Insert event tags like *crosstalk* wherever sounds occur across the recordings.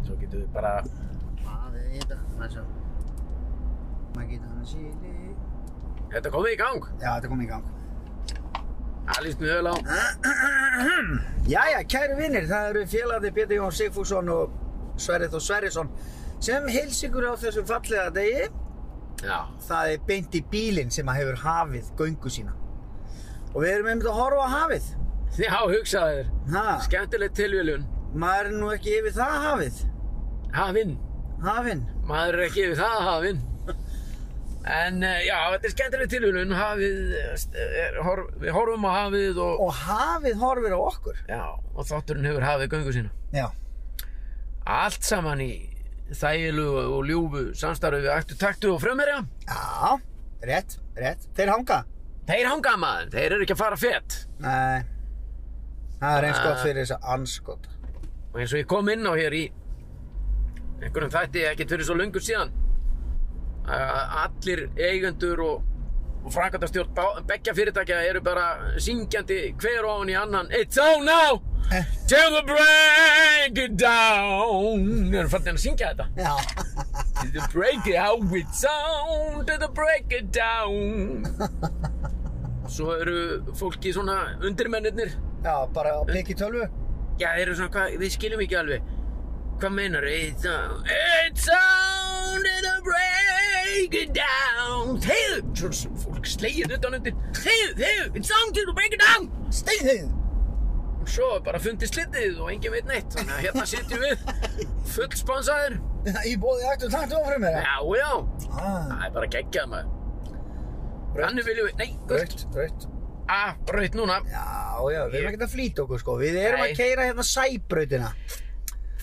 svo getum við bara Hvað er þetta? Maður sjá. Maður getur hann að síli. Þetta komið í gang Já, þetta kom í gang. Það líst mjög vel á Jæja, kæru vinnir, það eru félagði Pétur Jón Sigfússon og Sverrið og Sverrisson sem hils ykkur á þessum fallega degi. Já Það er beint í bílinn sem að hefur hafið göngu sína. Og við erum einmitt að horfa á hafið. Já, hugsaðu þér Ha, Skemmtilegt tilviljun maður er nú ekki yfir það hafið. Hafinn Hafinn. Maður er ekki yfir það hafinn En eh, já, þetta er skemmtileg tilviljun Hafið eh, st- er, hor, Við horfum á hafið og, Og hafið horfir á okkur. Já, og þátturinn hefur hafið göngu sína Já. Allt saman í þægilu og ljúfu samstarfi við ættu taktu og frumherja Já, rétt, rétt. Þeir hanga. Þeir hanga maður, þeir eru ekki að fara fett Nei, það er eins Ah. gott fyrir þess að anskot. og eins og ég kom inn á hér í einhverjum þætti ekkert fyrir svo lungu síðan að allir eigendur og, og framkvæmdastjórn beggja fyrirtækja eru bara syngjandi hver ofan í annan It's on now Eh. till the break it down erum fannst að syngja þetta Já. *laughs* Till the break it out it's on till the break it down svo eru fólki svona undirmennirnir Já, bara að blikki tölvu. Já, þeir eru svona, hvað, við skiljum ekki alveg. Hvað meinar It's on, it's on to the break it down. Þeir, svona sem fólk slegir utan undir. Þeir, þeir, it's on to the break it down. Steinhið! Og svo er bara fundið slitið og enginn veit neitt. Þannig að hérna sitjum við, fullsponsaðir. Í bóði ættu takt og frum meira. Já, já, Ah, það er bara geggjað maður. rautt, Þannig viljum við, nei, gult. rautt, rautt. Ah, raut núna. Já, já, við erum ekkert að flýta okkur sko. Við erum Nei. að keira hérna sæbrautina.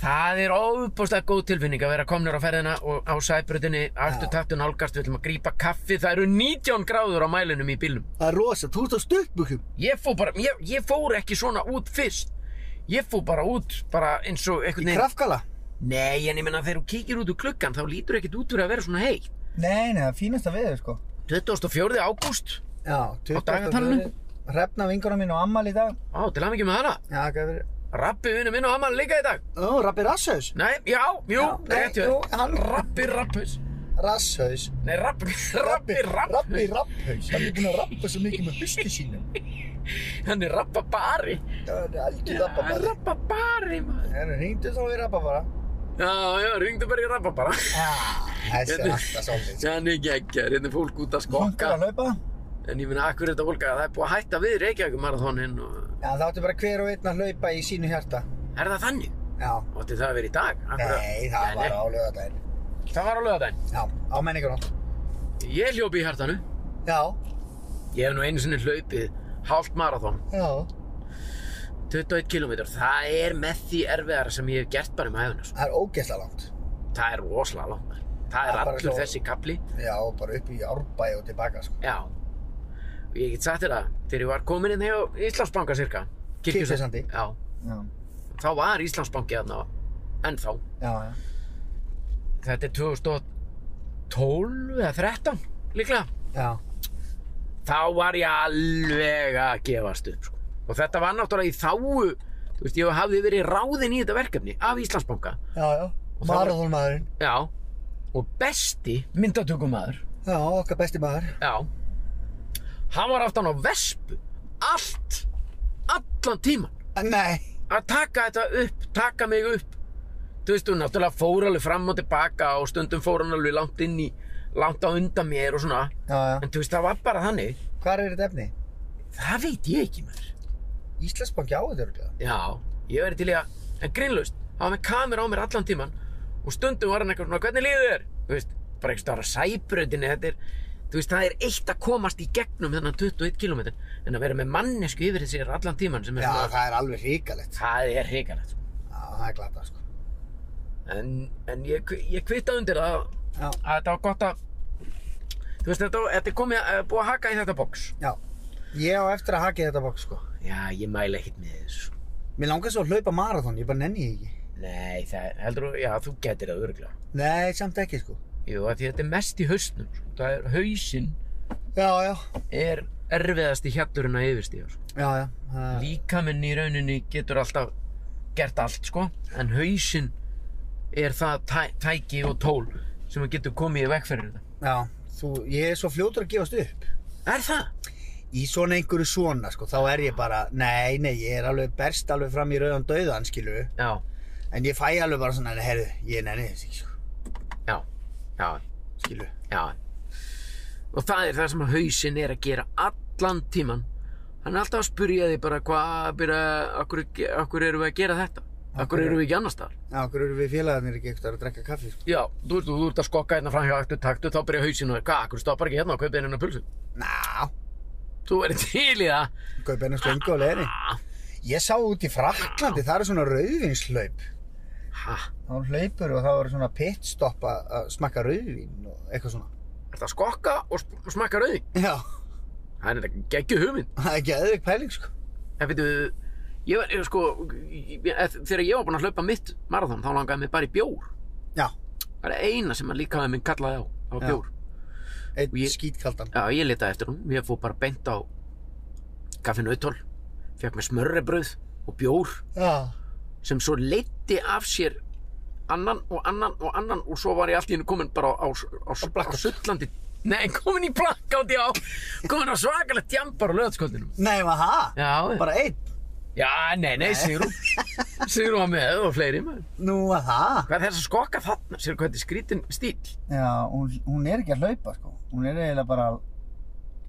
Það er óbúslega góð tilfinning að vera komnir á ferðina og á sæbrutinni aftur Já. taktu nálgast, við ætlum að grípa kaffi það eru 19 gráður á mælinum í bílum Það er rosa, þú ert á stuttbukum. ég fór bara, ég, ég fór ekki svona út fyrst ég fór bara út bara eins og einhvern Í veginn krafkala. nei, en ég menna þegar þú kíkir út úr klukkan þá lítur ekkert út fyrir að vera svona heitt Nei, nei, það er fínasta veður sko. 24. ágúst, Já, 20. dagatalinu? veður. Hrefna vinkona mín og ammal í dag. á, til að mikið með hana Já, hvað er verið? Rappi vinnu minn og Amal líka í dag Ó, Rappi Rasshaus. nei, já, jú, Já, nei, rétt hjá jú, þér. hann- Rabbi Rappus Rasshaus. nei, Rabbi, Rabbi Rappi Rappus Rapphaus. Hann er búinn að rappa svo mikið með husti sínum. hann er Rappabari Það er algjör rappabara. Rababari maður Það er hringdu þá í rappabara. Já, já, ringdu bara í Rababara Ah, Þessi er Hérna- alltaf svolítið. Þannig ekki ekki, hérna er fólk út að skokka Kongur að hlaupa. En ég minna, akkur er þetta fólk að það er búið að hætta við Reykjavík marathoninn og... Já, þá áttu bara hver og einn að hlaupa í sínu hjarta. Er það þannig? Já. Ótti það að vera í dag? Akkur að- Nei, það var á lögadaginn. Það var á lögadaginn Já, á menningarnótt. Ég hljópi í hjartanu Já, Ég hef nú einu sinni hlaupið hálft marathon já. 21 km Það er með því erfiðara sem ég hef gert bara um hæðuna Það er ógeðslega langt. Það er rosalega langt maður. Það Það er er bara allur svo- þessi kapli Já, bara upp í árbæi og tilbaka, sko. Já Og Ég get sagt þér það Þegar ég var komin inn hjá Íslandsbanka cirka Kirkjusandi. Já Já, þá var Íslandsbanki þarna ennþá já, já. þetta er 2012 eða 13 líklega Já, þá var ég alveg að gefast upp sko. og þetta var náttúrulega í þáu þú veist ég hafði verið ráðinn í þetta verkefni af Íslandsbanka já, já. það var- Marathonmaðurinn. já og besti myndatökumæður Já, okkar besti maður. já hann var aftan á Vespu allt allan tíman En Ah, Nei. að taka þetta upp, taka mig upp þú veist, hún náttúrulega fór alveg fram og tilbaka og stundum fór hann alveg langt inn í langt á undan mér og svona Já, já. en þú veist, það var bara þannig Hvar er þetta efni? það veit ég ekki mér Íslandsbanki á þetta örgulega. já, ég verið til í að, en grínlaust það var með kamera á mér allan tíman og stundum var hann eitthvað svona, hvernig líður þér þú veist, bara eitthvað stára sæbröðinni þetta er, þú veist, það er eitt að komast í gegnum þennan 21 km en að vera með mannesku yfir þessi allan tíman sem er Já, svona- það er alveg hríkalegt. það er hrikalegt sko. Já, það er glata, sko. en, en ég, ég kvita undir það Já, að þetta var gott að þú veist þetta, þetta er komið að búið að haka í þetta box já. Ég á eftir að haka í þetta bók, sko. já ég mæla ekkert með þessu Mér langar svo að hlaupa marathon, ég bara nenni því ekki. nei það heldur þú, já þú getur það örgla Nei, samt ekki, sko. jú af því þetta er mest í hausnum sko. það er hausinn Já, já. er erfiðasti hjallurinn að yfirstíða sko. Já, já. Það... líkaminn í rauninni getur alltaf gert allt sko en hausinn er það tæ, tæki og tól sem að getur komið í veg fyrir þetta. Já, þú, ég er svo fljótur að gefast upp. Er það? Í svona einhverju svona, sko, þá er ég bara, nei, nei, ég er alveg berst alveg fram í rauðan dauðan, skilu. Já, En ég fæ alveg bara svona, herru, ég nenni þess ekki, sko, já, já, skilu. já. Og það er það sem að hausinn er að gera allan tíman. Hann er alltaf að spurja þig bara hvað, byrja, okkur, okkur erum við að gera þetta? Okkur erum við ekki annars staðar? Já, okkur eru við félagarnir ekki eitthvað að drekka kaffi, sko. Já, þú veist, þú ert að skokka hérna fram hjá aktu taktu, þá byrja hausinn og hvað, okkur stoppar ekki hérna og kaupið hérna pulsu? Ná, Þú verður til í það. kaup hennar slöngu á leiðinni. Ég sá út í Fraklandi, það eru svona rauðvinslaup. Hæ, Þá hlaupur og það eru svona pitstop að að smakka rauðvin og eitthvað svona. ert að skokka og sm- og smakka rauði? Já, Það er þetta geggju hugmynd. það er ekki aðeins pæling, sko. En veitu, ég var, ég, sko, ég, ég- þegar ég var búinn að hlaupa mitt marathon, þá langaði mig bara í bjór. Já, Það er eina sem að líkaði minn kallaði á, á Já. bjór. einn Og ég- skítkaldan. Já, ég litaði eftir hún. Ég fór bara beint á kaffi nautól, fekk mér smörrebröð og bjór Já. sem svo leiddi af sér annan og annan og annan og svo var ég allt í hennu komin bara á, á, á, á sullandi. Nei, komin í blakkátt, já. Komin á svakalegt tjambar á löðaskvöldinum. Nei, maður það? Já, Bara einn? Já, nei, nei, *laughs* Sigrún Sigrún var með og fleiri maður Nú, að það? Hvað er þess að skokka þarna? Sér hvað þetta er skrítin stíl Já, hún, hún er ekki að hlaupa, sko. Hún er eiginlega bara að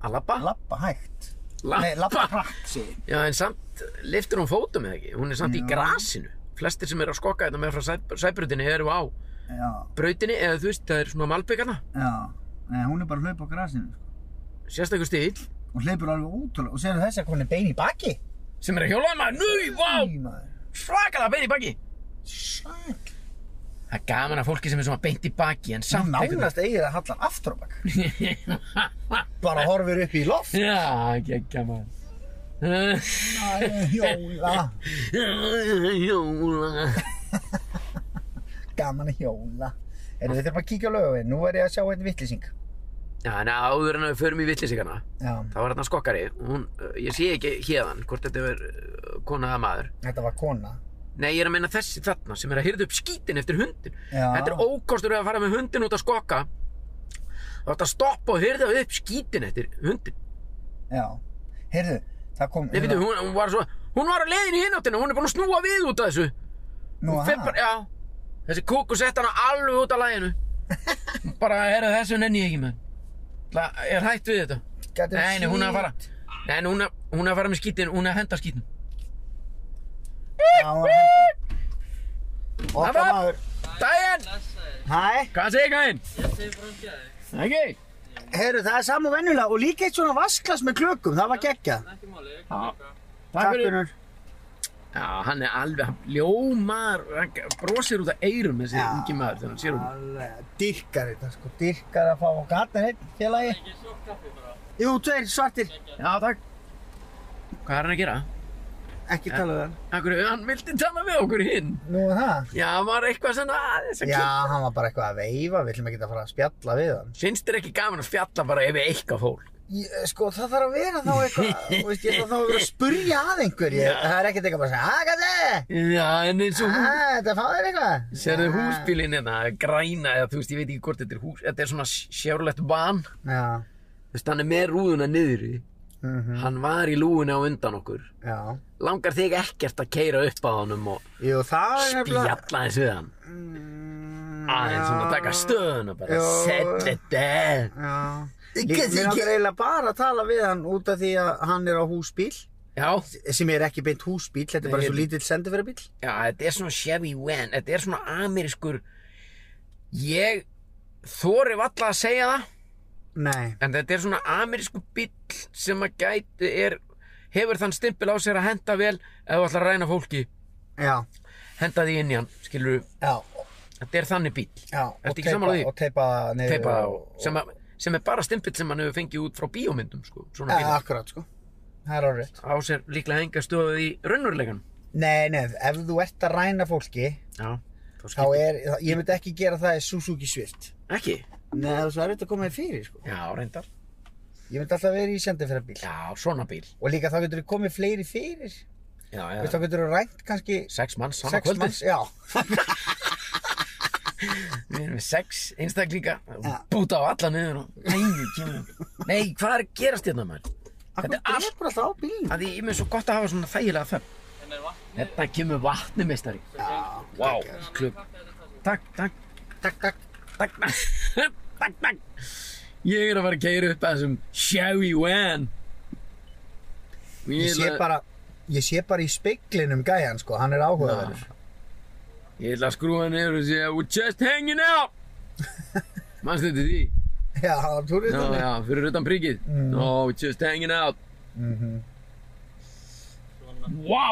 Að labba? lappa hægt. Labba? Nei, lappa hratt, segir. ég. Já, en samt liftur hún fótum eða ekki Hún er samt í Já. grasinu Flestir sem eru að skokka þetta með frá sæp, sæbrutinni eru á Já, brautinni eða þú veist, það er svona malbyggana já. Nei, hún er bara að hlaupa á grasinu, sko. Sérstakur stíl Hún hleypur alveg útrúlega. Og segir þess að hún er bein í baki. sem er að hjólaða maður Nú, vá, Í maður. svakalega beint í baki Sæk. Það er gaman að fólki sem er svona beint í baki en Hún samt nánast eigið að hallar aftur á bak. eitthvað Bara horfir upp í loft. *laughs* Já, geggja maður Æ, Hjóla. Hjóla Gaman að hjóla. Erum við þurfum að kíkja á lögavinn. Nú er ég að sjá einn vittlýsing. Já, en áður en við förum í vitlisíkana, Já. þá var hérna skokkari, hún, uh, ég sé ekki hérðan hvort þetta er uh, kona eða maður. Þetta var kona. Nei, ég er að meina þessi þarna sem er að hyrða upp skítin eftir hundin. Já. Þetta er ókostur við að fara með hundin út að skokka. Þá ætti að stoppa og hyrða upp skítin eftir hundin. Já. Heyrðu, það kom... Nei, veitum, hún, hún var svo, hún var á leiðin í hináttina, hún er búin að snúa við út af þessu. Nú, Hún fer ha? bara, já, þessi kúku sett hana alveg út af *laughs* læginu. bara, herra, þessu nenni ég ekki með. Ég er hætt við þetta. Gæti verið Nei, nei, hún er að fara skít. Nei, en hún er, hún er að fara með skítin, hún er að henda skítin Já, hún er að henda. Það Okkar var- maður. Dæin! Hæ, Hvað segir gæinn? Ekki? heyrðu, það er saman vennulega og líka eitt svona vasklas með klökum, það var geggja. Takk fyrir Gunnar. Já, hann er alveg, hann ljómar hann brosir út af eirum þessi Já. ungi maður þegar hann sér hún Alveg, Dyrkar þetta sko, dyrkar að fá og gata heitt félagi. Jú, tveir svartir, Já, takk Hvað er hann að gera? ekki tala við hann. Akkur, hann vildi tala við okkur hinn Nú er það? Já, hann var eitthvað svona aðeins að Já, kynna hann var bara eitthvað að veifa, við ætlum ekki að fara að spjalla við hann. Finnst þér ekki gaman að spjalla bara ef við eitthvað fólk? Ég, sko, það þarf að vera þá *laughs* eitthvað, þú veist, ég þarf þá að vera að spurja að einhverju. Það er ekkert eitthvað bara að segja, að gæti, Já, en eins og hún að þetta fá þér eitthvað. Serðu húsbílinn hérna, græna eða þú veist, ég veit ekki hvort þetta er hús Þetta er svona sjárlegt van Já, Þú veist, hann er með rúðuna niðri mhm, Hann var í lúuna á undan okkur já. Langar þig ekkert að keira upp að honum og Jú, það er spjalla eins við hann Mm, Aðeins svona já. taka stöðuna bara Já. Set it down Já. Ég Ég get er ekki- eiginlega bara að tala við hann út af því að hann er á húsbíl Já, sem er ekki beint húsbíl, þetta er bara Nei, ég- svo lítill sendifærabíl já, þetta er svona Chevy Van Þetta er svona amerískur Ég þori valla að segja það Nei, En þetta er svona amerískur bíll sem að gæti er Hefur þann stimpil á sér að henda vel Ef þú ætlar að ræna fólki já, Henda því inn í hann, skilur já, Þetta er þannig bíll já Ertu ekki sammála því? og teipa neyður teipa það á sem, að, sem er bara stimpill sem hann hefur fengið út frá bíómyndum sko, svona Ja, bílar akkurat sko, það er árið á sér líklega enga stöðu í raunveruleikanum Nei, nei, ef þú ert að ræna fólki já, þá þá skiptir er, ég myndi ekki gera það í Suzuki Svift ekki, Nei, það er svo erfitt að koma þér fyrir sko já reyndar Ég myndi alltaf vera í sendifærabíl já, svona bíl og líka þá getur þú komið fleiri fyrir já, Veist, já. þá getur þú rænt kannski sex manns, sama sex kvöldið manns, já Við erum með sex einstaklinga Ja. Búta á alla niður og Nei, kemur Nei, hvað er að gerast hérna maður? Akkur Þetta er allt drefur alltaf á bílnum. að því ég með svo gott að hafa svona þægilega þögn. Hérna kemur vatni, meistari. Já, Vá, wow. klub. Takk, takk, takk, takk. takk, takk, *laughs* takk, takk. Ég er að fara að keira upp að þessum Sherry Wan. Ég sé bara, ég sé bara í speiklinum gæjan, sko, hann er áhugaverður. Ég ætla að skrúa hann yfir og segja, we're just hanging *laughs* out. Manstu þetta því? Já, hann túrið Já, þannig. já, fyrir utan príkið. Mm. No, we're just hanging out. Mhm. Vá,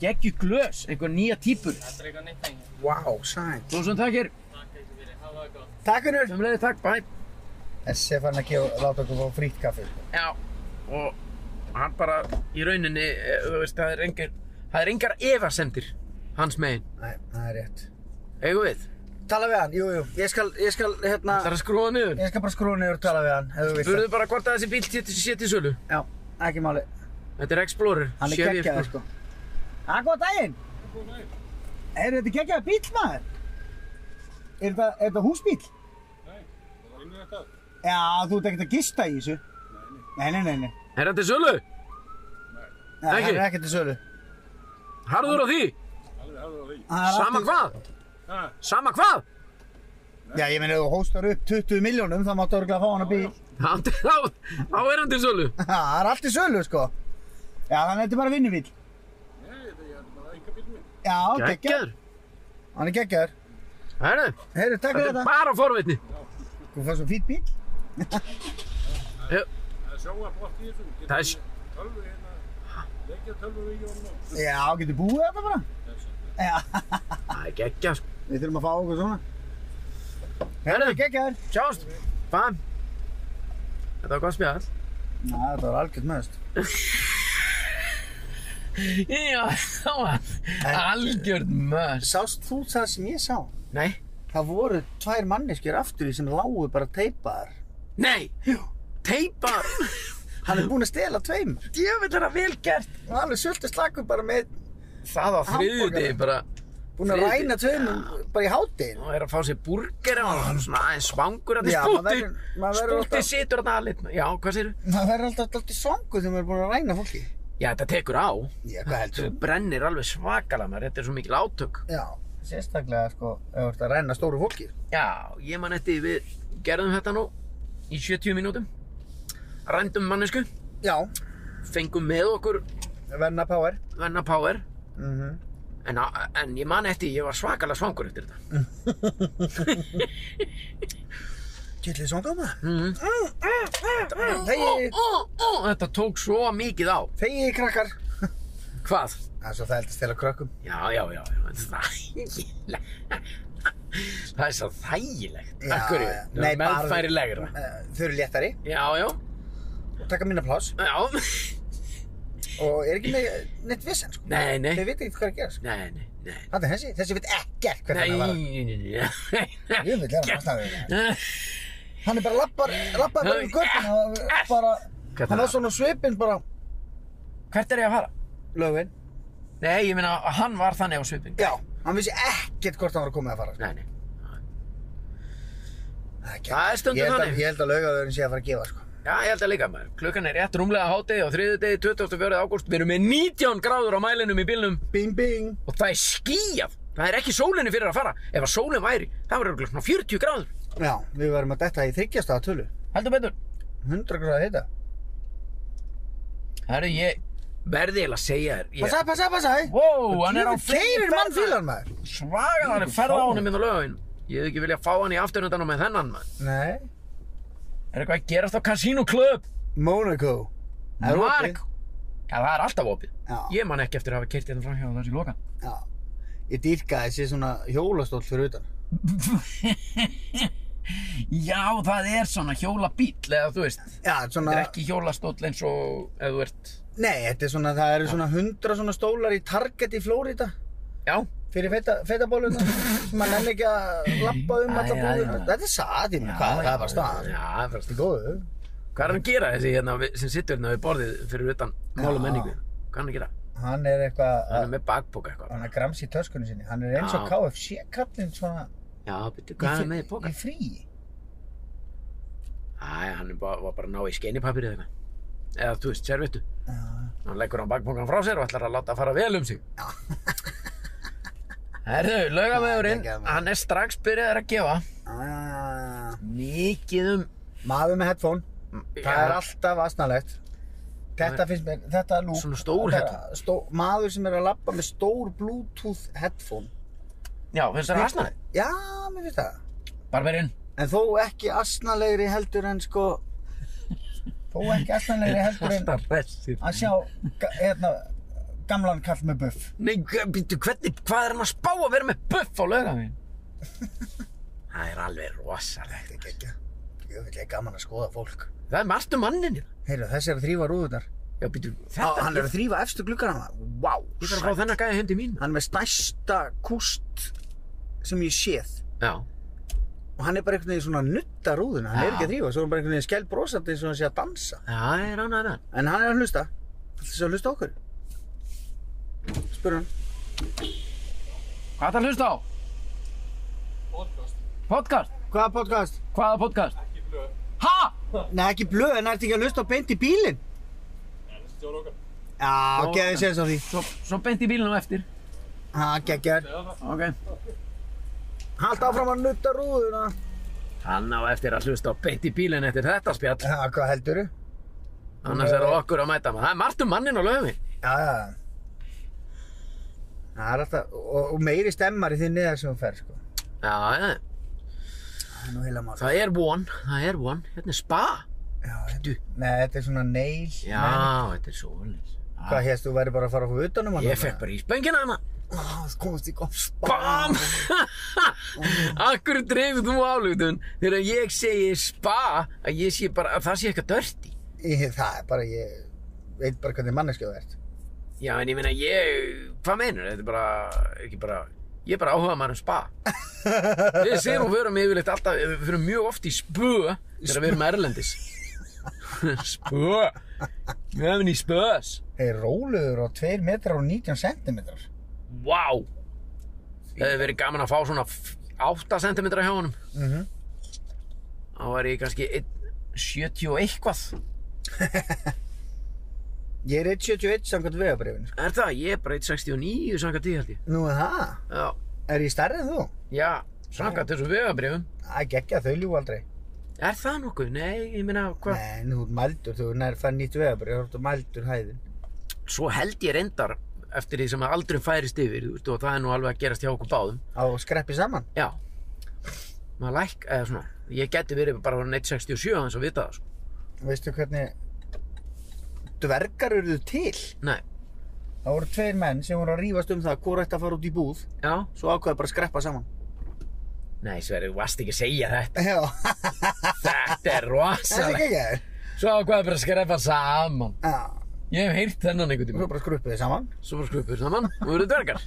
geggju glös, einhver nýja típur. Vá, sæn. Jónsson, takkir. Takk unnur. Sumleði, takk, bæ. Þessi er fann að gefa, láta okkur fá frýtt kaffi. Já, og hann bara í rauninni, eh, þú veist, það er engar, það er engar efasemdir hans megin. Nei, það er rétt. Eigum við? Tala við hann, jú, jú. Ég skal, ég skal, hérna, Það er að skrúa niður. ég skal bara skrúa niður og tala við hann, ef þú vilt það. Spurðu bara hvort að þessi bíl sé til- sé til sölu. Já, ekki máli. Þetta er Explorer. Hann er Chevy geggjaður, sko. Explorer. Hann, góð daginn. Er þetta geggjaður bíl, maður? Er þetta, er þetta húsbíl? Já, þú ert ekkert að gista í þessu. Nei, nei, nei, nei. Er þetta til sölu? Nei, Ekki? hann er ekkert til sölu. Harður á því? Hann er Sama aftur- hvað? Sama hvað? Já, ég meina, ef þú hóstar upp 20 miljónum, þá máttu örgulega fá hann að bíl. Hann- Þá þá er hann til sölu. *laughs* Ha, Það er allt í sölu, sko. Já, þannig að þetta er bara vinnubíl. Já, geggjaður. Geggjaður. Hann er geggjaður. Herru, Heyrðu, takk þetta fyrir er þetta. bara forvitni. Þú fannst svo fýtt bíl. Það er s- Já, getur búið þetta bara. Já, það er geggja. sko. við þurfum að fá okkur svona. Herru, Geggjaður. sjáumst. Bæ. Þetta var gott spjall. Næ, þetta var algjört meðust. Já, það var algjörn mörs. Sást þú það sem ég sá? Nei. Það voru tvær manneskjur aftur í sem lágu bara teipaðar. Nei! Jú. Teipa! Hann er búinn að stela tveimur. Djöfull er það vel gert! Hann er alveg sultu slakur bara með, Það á þriðjudegi Hamborgara. bara búinn að Friðrik. ræna tveimur bara í hátinn. og er að fá sér burger og hann er svona aðeins svangur að Já, þið maður spúti. verður- maður verður Spúti alltaf- situr að það litna. Já, hvað séru? Það verður alltaf alltaf svangu þegar maður er búinn að ræna fólki. Já, þetta tekur á. Já, hvað heldur Þú brennir alveg svakalega maður, þetta er svo mikil átök. Já, sérstaklega sko, ef þú ert að ræna stóru fólki. Já, ég man eftir við gerðum þetta nú í 70 mínútum. Rændum mannesku, Já, fengum með okkur verna power. venna power. Mm En, en ég man eftir, ég var svakalega svangur eftir þetta. Kjöldið svangað maður. Mm. Þegi, Þetta tók svo mikið á. þegi krakkar. Hvað? Það er svo það heldist til að krökkum. Já, já, já, já, þetta er þægilegt. Það er svo þægilegt. Já, Af hverju? já. Það Nei, er bara- meðfærilegra. Eh, Þau eru léttari Já, já, og taka minna pláss já. og er ekki með neitt vissan sko. Nei, nei. Þau veit ekki hvað er að gera sko. Nei, nei, nei. Þetta er þessi, þessi veit ekkert hvernig Nei, hann var. nei, nei, nei. Ég vil hérna aðstæða við það. Eh, Hann er bara lappar, lappar bara um göttin og bara, Hvernig var hann var svona svipinn bara, Hvert er ég að fara? lögin. Nei, ég meina, hann var þannig á svipin. Já, hann vissi ekkert hvort hann var komið að fara. sko. Nei, nei. Það er ekki- Það er stundum Ég held að- þannig. Ég held að laugavörðin sé að fara að gefa sko. Já, ég held að líka maður. Klukkan er rétt rúmlega hátegi og þriðudegi 24. ágúst. Við erum með 19 gráður á mælinum í bílnum. Bing, bing. og það er skíjað það er ekki sólinni fyrir að fara ef að sólin væri, það var örugglega svona 40 gráður Já, við verðum að detta í þryggjastaða tölu. heldur betur 100 gráða heita. Herru, ég verði eiginlega að segja þér ég... Passa, passa, passa. hæ. Wow, hann er á Djöfull keyrir mann fílan maður. svagaðan er ferða á honum inn á lögin ég hef ekki viljað fá hann í afturhundanum með þennan man. Nei. er eitthvað að gerast á Casino Club Monaco. Það er opið. Mark Já, það er alltaf opið Já. Ég man ekki eftir að hafa kert hérna framhjá þessi loka Já, ég dýrkaði þessi svona hjólastól fyrir utan. Já, það er svona hjólabíl eða þú veist Þetta Já, svona, er ekki hjólastóll eins og ef þú ert nei, þetta er svona, það eru svona hundra svona stólar í Target í Flórida Já, fyrir feta- fetabóluna sem maður nenni ekki að lappa um Æ, alla já, búðina. já. Þetta er satt, ég meina, hvað, það var staðan. Já, það var Þetta er góðu. Hvað er hann að gera þessi hérna við- sem sittur hérna við borðið fyrir utan mál og menningu? Hvað er hann að gera? Hann er eitthvað, Hann er að- með bakbóka eitthvað. hann er grams í töskunni sinni, hann er eins og Já. KFC-kallinn svona, Já, betur, hvað er hann með í Í pókan? frí? Æ, hann er bara, var bara að ná í skeinipapir eða eitthvað. Eða, þú veist, servettu. Já. Hann leggur hann bakpókan frá sér og ætlar að láta fara vel um sig. *laughs* Herðu, laugamæðurinn, Gekkjaður maður. hann er strax byrjaður að gefa. Ah, Mikið um... maður með headphone. Það er alltaf asnalegt. Þetta finnst mér, þetta er lúk. Svona stór Þetta- headphone. Stó, maður sem er að labba með stór bluetooth headphone. Já, finnst þér hasnaði? Já, mér finnst það. Barberinn. En þó ekki asnalegri heldur en sko... Þó ekki asnalegri heldur en Alltaf hressir. að sjá ga- hérna, gamlan kall með buff. Nei, býttu, hvernig, hvað er hann að spá að vera með buff á laugamæðin? *laughs* það er alveg rosalegt. Þetta er geggja. Jöfnveld, ég er gaman að skoða fólk. Það er margt um manninni. Heyrðu, þessi er að þrýfa rúðunar. Já, býttu, Á, þetta... hann er að þrýfa efstu gluggana. Vá, Ég þarf að fá þennan gæði heim til mín. hann er með stærsta kúst sem ég séð. Já. Og hann er bara einhvern veginn svona að nutta rúðuna. Hann er Já. ekki að þrýfa, svo er hann bara einhvern veginn skell brosandi eins og hann sé að dansa. Já, ég er ánægði með hann. En hann er að hlusta. Það er að hlusta á okkur. Spur hann. Hvað það hlusta á? Podcast. Hvaða podcast? Podcast? Hvaða podcast? Ekki blöð. Ha? Nei, ekki blöð, en ertu ekki að hlusta á beint í bílinn? Já, Jó, ok, það séðs á því. Svo, svo beint í bílunum eftir. Ha, geggjör. Ok. Halt áfram að nutta rúðuna. Hann á eftir að hlusta á beint í bílun eftir þetta spjall. Já, hvað heldur þú? Annars er það okkur að mæta maður. Það er margt um mannin á laugamæðin. Já, já. Það er alltaf, og, og meiri stemmar í því neðar sem hún fer, sko. Já, já. Það er nú heila mál. Það er von. Það er von. Hérna er spa. Já, þetta, nei, þetta er svona neil. Já, þetta er svo velins. Hvað hérst, þú væri bara að fara frá utanum hann? Ég fekk bara íspengina hana. Á, þú komast í gott BAM! Akkur dreifir þú álugtun þegar ég segi spa að ég sé bara að það sé eitthvað dörti. Ég, það er bara, ég veit bara hvernig manneskja þú ert. Já, en ég meina, ég, hvað meinur? Þetta er bara, ekki bara, ég er bara áhuga maður um spa. Við séum og förum yfirleitt alltaf, við förum mjög oft í spö þegar við erum erlendis. *laughs* spö. Við hefum í spös. Þeir róluður á 2 metrar og 19 centimetrar. Vá! Wow. Það hefði verið gaman að fá svona 8 cm hjá honum. Mm Mhm. -hmm. Þá var ég kannski 1, 70 og eitthvað. Ég er 1,71 samkvæmt sko. vegabrifinu. Er það? Ég er bara 169 samkvæmt því held ég. Nú er það. Já, Er ég stærri en þú? já, samkvæmt þessu vegabrifum. Æ, geggja, þau ljú aldrei. Er það nokkuð? Nei, ég meina, hvað? Nei, nú er mældur, þú er nær fann nýtt vegabrif, þú er mældur hæðin. Svo held ég reyndar eftir því sem að aldrei færist yfir, þú veist, og það er nú alveg að gerast hjá okkur báðum. Á skreppi saman. Já, maður læk, eða svona, ég geti verið bara orðinn 167 aðeins að vita það, sko. Veistu hvernig dvergar eruðu til? Nei, Það voru tveir menn sem voru að rífast um það hvort ætti að fara út í búð, já, svo ákveða bara að skreppa saman. nei, Sverri, þú varst ekki að segja þetta. Já, *laughs* Þetta er það er rosalega. ekki ekki. Svo ákvaði bara að skrefa saman. Já, Ég hef heyrt þennan einhvern tíma. svo bara skruppið þið saman. Svo bara skrupur saman og verður dvergar.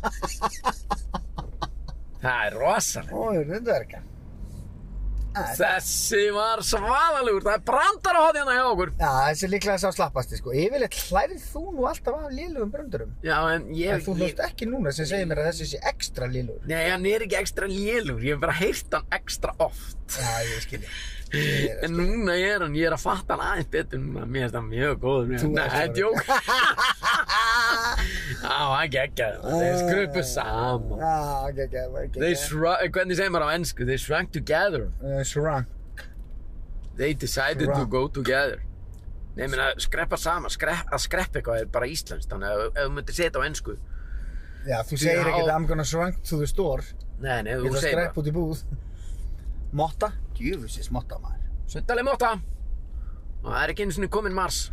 Það er rosalega. Ó, eruðu dvergar. Já, Þessi var svaðalegur, það er brandar á hotið hérna hjá okkur. þessi er líklega sá slappasti sko. Yfirleitt hlærið þú nú alltaf af lélugum bröndurum. Já, en ég... En þú ég, hlust ekki núna sem segir mér að þessi sé ekstra lílur. Nei, hann er ekki ekstra lélugur, ég hef bara heyrt hann ekstra oft. Já, ég skilji. Ég er að- En núna er hann, ég er að fatta hann aðeins betur núna, mér finnst hann mjög góður. Mér. Þú Nei, ert það svo- er djók. *laughs* Já, hann geggjaði það, þeir skrupu saman. Já, ekki, ekki, ekki, They ekki. shrunk, eh, hvernig segir maður á ennsku? They shrunk together. Uh, Shrunk. They decided to Shrunk. go together. Nei, ég meina, skreppa saman, skrepp, að skreppa eitthvað er bara íslenskt, þannig að ef- ef þú myndir setja á ennsku. Já, þú segir Já. ekkert I'm gonna shrunk to the store. Nei, nei, Ég þú ætla að segir bara. skrepp út í búð. Motta? Djöfusins motta maður. Sundaleg móta og það er ekki einu sinni kominn mars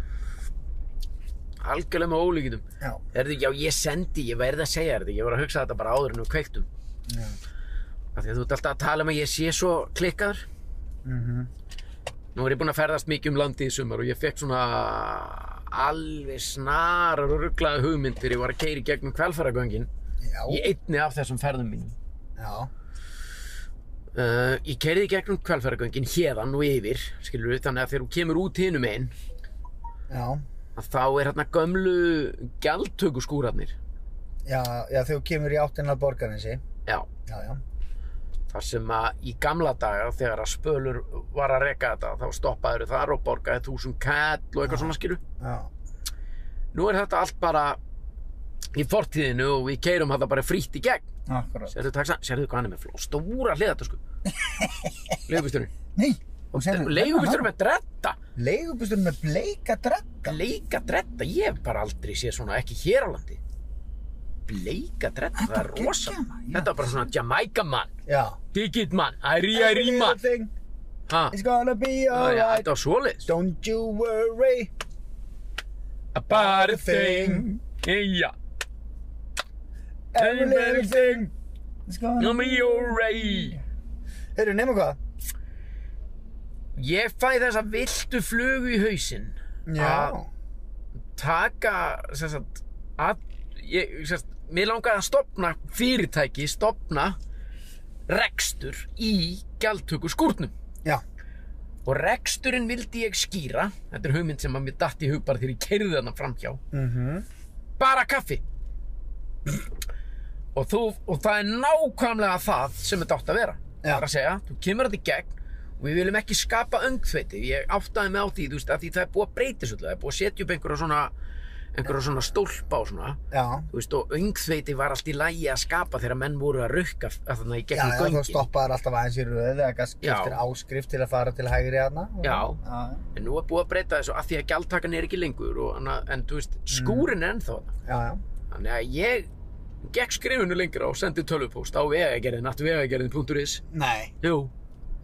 algjörlega með ólíkitum Já. er þið, já ég sendi, ég verði að segja þér þetta ég var að hugsa þetta bara áður en við kveiktum Já. af því að þú ert alltaf að tala um að ég sé svo klikkaður Mm nú er ég búinn að ferðast mikið um landi í sumar og ég fekk svona alveg snarar og rugglaða hugmynd þegar ég var að keyra í gegnum kvelferðagöngin Já. í einni af þessum ferðum mínum Já. Uh, ég keiriði gegnum kvelferðagöngin hérðan og yfir, skilur við, þannig að þegar þú kemur út hinum einn, Já. að þá er hérna gömlu gjaldtökuskúrarnir Já, já, þegar þú kemur í áttina að borgarinsi. já, Já, já. þar sem að í gamla daga þegar að spölur var að reka þetta þá stoppaður þar og borgaði þúsund kall og eitthvað svona skilu já, nú er þetta allt bara í fortíðinu og við keirum þetta bara frítt í gegn akkurat. sérðu taxa, sérðu hvað hann er með fló stóra hliðata *laughs* sko leigubýsturinn Nei, og sérðu- leigubýsturinn með dretta Leigubustur með bleika drekka. bleika dretta, ég hef bara aldrei séð svona ekki hér á landi bleika dretta, það Þetta er er rosa geggjað, maður, já. þetta er bara svona Jamaica mann Já. Digit mann, æri æri mann Everything Ha, is gonna be já, já, alright. Þetta var svoleiðis Don't you worry. About a thing Eja Every little thing is gonna Nú me your ray Heyrðu, nema hvað? Ég fæ þessa viltu flugu í hausinn Já. Taka, sem sagt að, ég, sem sagt, Mér langaði að stopna fyrirtæki Stopna rekstur í gjaldtöku skúrnum Já. Og reksturinn vildi ég skýra Þetta er hugmynd sem að mér datt í hug bara þegar ég keirði þarna framhjá Mhm. bara kaffi og, þú, og það er nákvæmlega það sem þetta átt að vera Já. það er að segja, þú kemur þetta í gegn og við viljum ekki skapa öngþveiti ég áttaði mig á því, þú veist, að því það er búið að breyta svolítið, það er búið að setja upp einhverja svona einhverja svona stólpa og svona Já. þú veist, og öngþveiti var allt í lægi að skapa þegar menn voru að rukka að þannig í Já, gegnum já, þú göngin stoppaðar alltaf aðeins í röðu eða gaf- Já. skiptir áskrift til að fara til hægri aðna. Já. Já, en nú er búið að breyta þessu að því að gjaldtakan er ekki lengur og, en, en þú Mm. veist, skúrin er ennþá þarna. já, já. Þannig að ég gekk skrifinu lengra og sendi tölvupóst á vegagerðin, at vegagerðin.is Nei. Jú,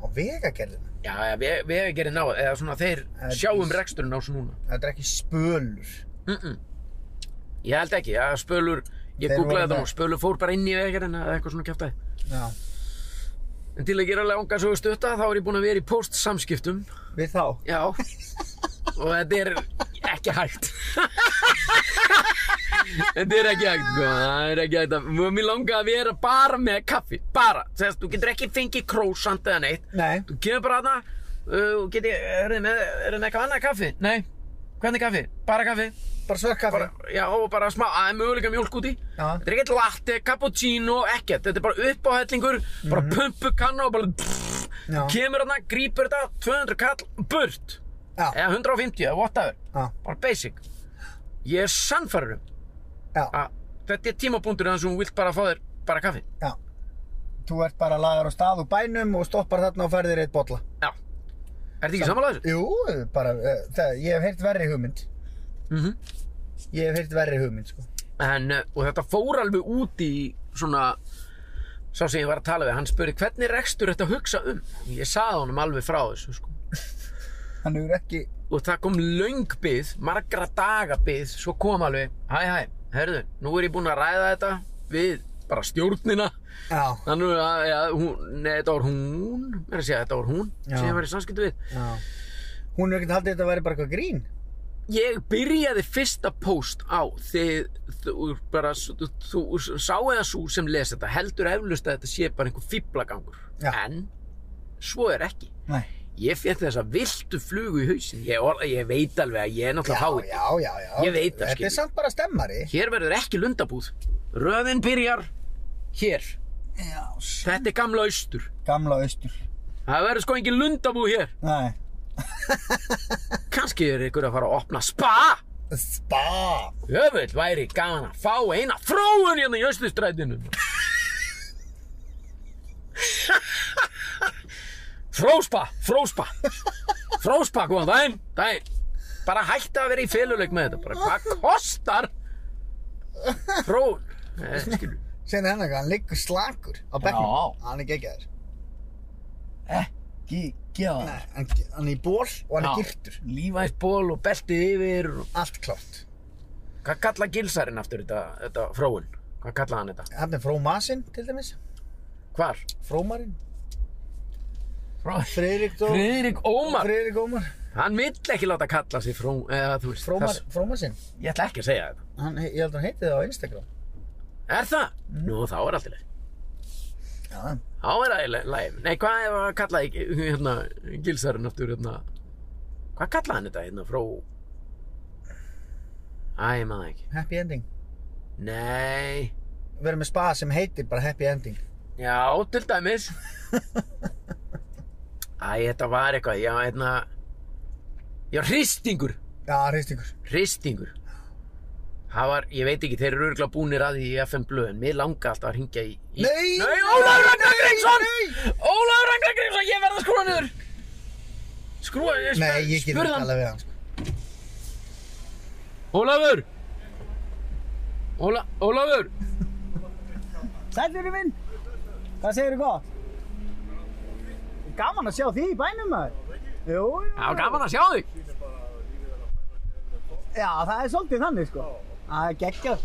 Á vegagerðinu. já, ja, ve vegagerðin á, eða svona þeir Þetta sjáum er- reksturinn á þessu núna Þetta er ekki spölur. mm -mm. Ég held ekki, já, spölur, ég Þeir googlaði voru þetta með. og spölur fór bara inn í vegagerðina eða eitthvað svona kjaftaði Já. En til að gera langa svo stutta þá er ég búinn að vera í póstsamskiptum Við þá. Já, og þetta er ekki hægt Þetta er ekki hægt, sko, það er ekki hægt að, Mér langaði að vera bara með kaffi, bara Sest, Þú getur ekki fengið krósant eða neitt Nei. Þú kemur bara aðna uh, og geti, er þið með, er þið með eitthvað annað kaffi? Nei, hvernig kaffi? Bara kaffi? Bara svörkaffi. Bara, já, og bara smá, aðeins möguleika mjólk út í. Já. Þetta er ekkert latte, cappuccino, ekkert. Þetta er bara uppáhellingur, bara pumpukanna og bara pff, Já. kemur aðna, grípur þetta, 200 kall, burt. Já. Eða 150, eða whatever. Já. Bara basic. Ég er sannfærum Já. að þetta er tímapunktur þannig sem hún vilt bara fá þér bara kaffi. Já. Þú ert bara lagar á stað og bænum og stoppar þarna og færðir eitt bolla. Já. Er þetta ekki samanlega þessu? Jú, bara, uh, það, ég hef heyrt verri hugmynd. Mhm. Ég hef heyrt verri hugmynd, sko. en, eh, og þetta fór alveg út í svona sá sem ég var að tala við, hann spurði hvernig rekstur þetta að hugsa um ég saði honum alveg frá þessu sko. Hann hefur ekki... og það kom löng bið, margra daga bið svo kom alveg, hæ hæ, herðu nú er ég búinn að ræða þetta við bara stjórnina Já. þannig að, ja, hún, nei, þetta var hún mér að segja, þetta var hún Já. sem ég var í samskiptu við Já. Hún hefur ekkert haldið að þetta væri bara eitthvað grín. ég byrjaði fyrsta post á þið, þú bara þú, þú sá eða svo sem les þetta heldur eflust að þetta sé bara einhver fýblagangur Já. en svo er ekki Nei. ég fekk þessa viltu flugu í hausin ég, orða, ég veit alveg að ég er Já, náttúrulega háið já, já, já. Ég veit það, Þetta skilur. er samt bara stemmari. hér verður ekki lundabúð röðin byrjar hér Já. þetta er gamla austur Gamla austur. það verður sko engin lundabúð hér Nei. kannski er ykkur að fara að opna spa Spa. Öfull væri gaman að fá eina fróun hérna í Östustrætinu. fróspa, fróspa, fróspa, góðan daginn, daginn. Bara hætta að vera í féluleik með þetta, bara hvað kostar fróun? Eh, skilur. Segðu hennar hvað, hann liggur slakur á bekknum. Já. Hann er geggjaður. Ekki gera Nei, hann, hann er í ból og hann Já. er girtur. Lífæns ból og beltið yfir. og- Allt klárt. Hvað kalla gilsarinn aftur þetta, þetta fróun? Hvað kalla hann þetta? Hann er frómasinn, til dæmis. Hvar? Frómarinn. Fró... Friðrik Dó. Friðrik Ómar, Friðrik Ómar. hann vill ekki láta kalla sig fró... Eða, þú veist, Frómar, þess- frómasinn. Ég ætla ekki að segja þetta. Hann, he- ég held að hann heiti það á Instagram. Er það? Nú, þá er allt í leið. Já. Þá er allt í leið. Nei, hvað ef að kalla hérna, gilsarinn aftur hérna? Hvað kallaði hann þetta hérna frá? Æ, ég maður ekki. Happy ending. Nei, Við erum með spa sem heitir bara happy ending. Já, til dæmis. Æ, þetta var eitthvað, já, hérna, já, hristingur, Já, reistingur. hristingur. Það var, ég veit ekki, þeir eru örgulega búnir að því í FM Blöð, en mér langa alltaf að hringja í... í... Nei! Nei, Ólafur Ragnar nei, Grímsson! nei! Ólafur Ragnar Grímsson, ég verð að skrúa niður! Skrúa, ég spur, Nei, ég get spurði ekki hann. talað við hann. sko. Ólafur! Óla, Ólafur! Sælurinn minn, hvað segirðu gott? Gaman að sjá því í bænum maður. Jú, jú. Já, gaman að sjá þig! Já, það er svolítið þannig sko. Það er geggjað.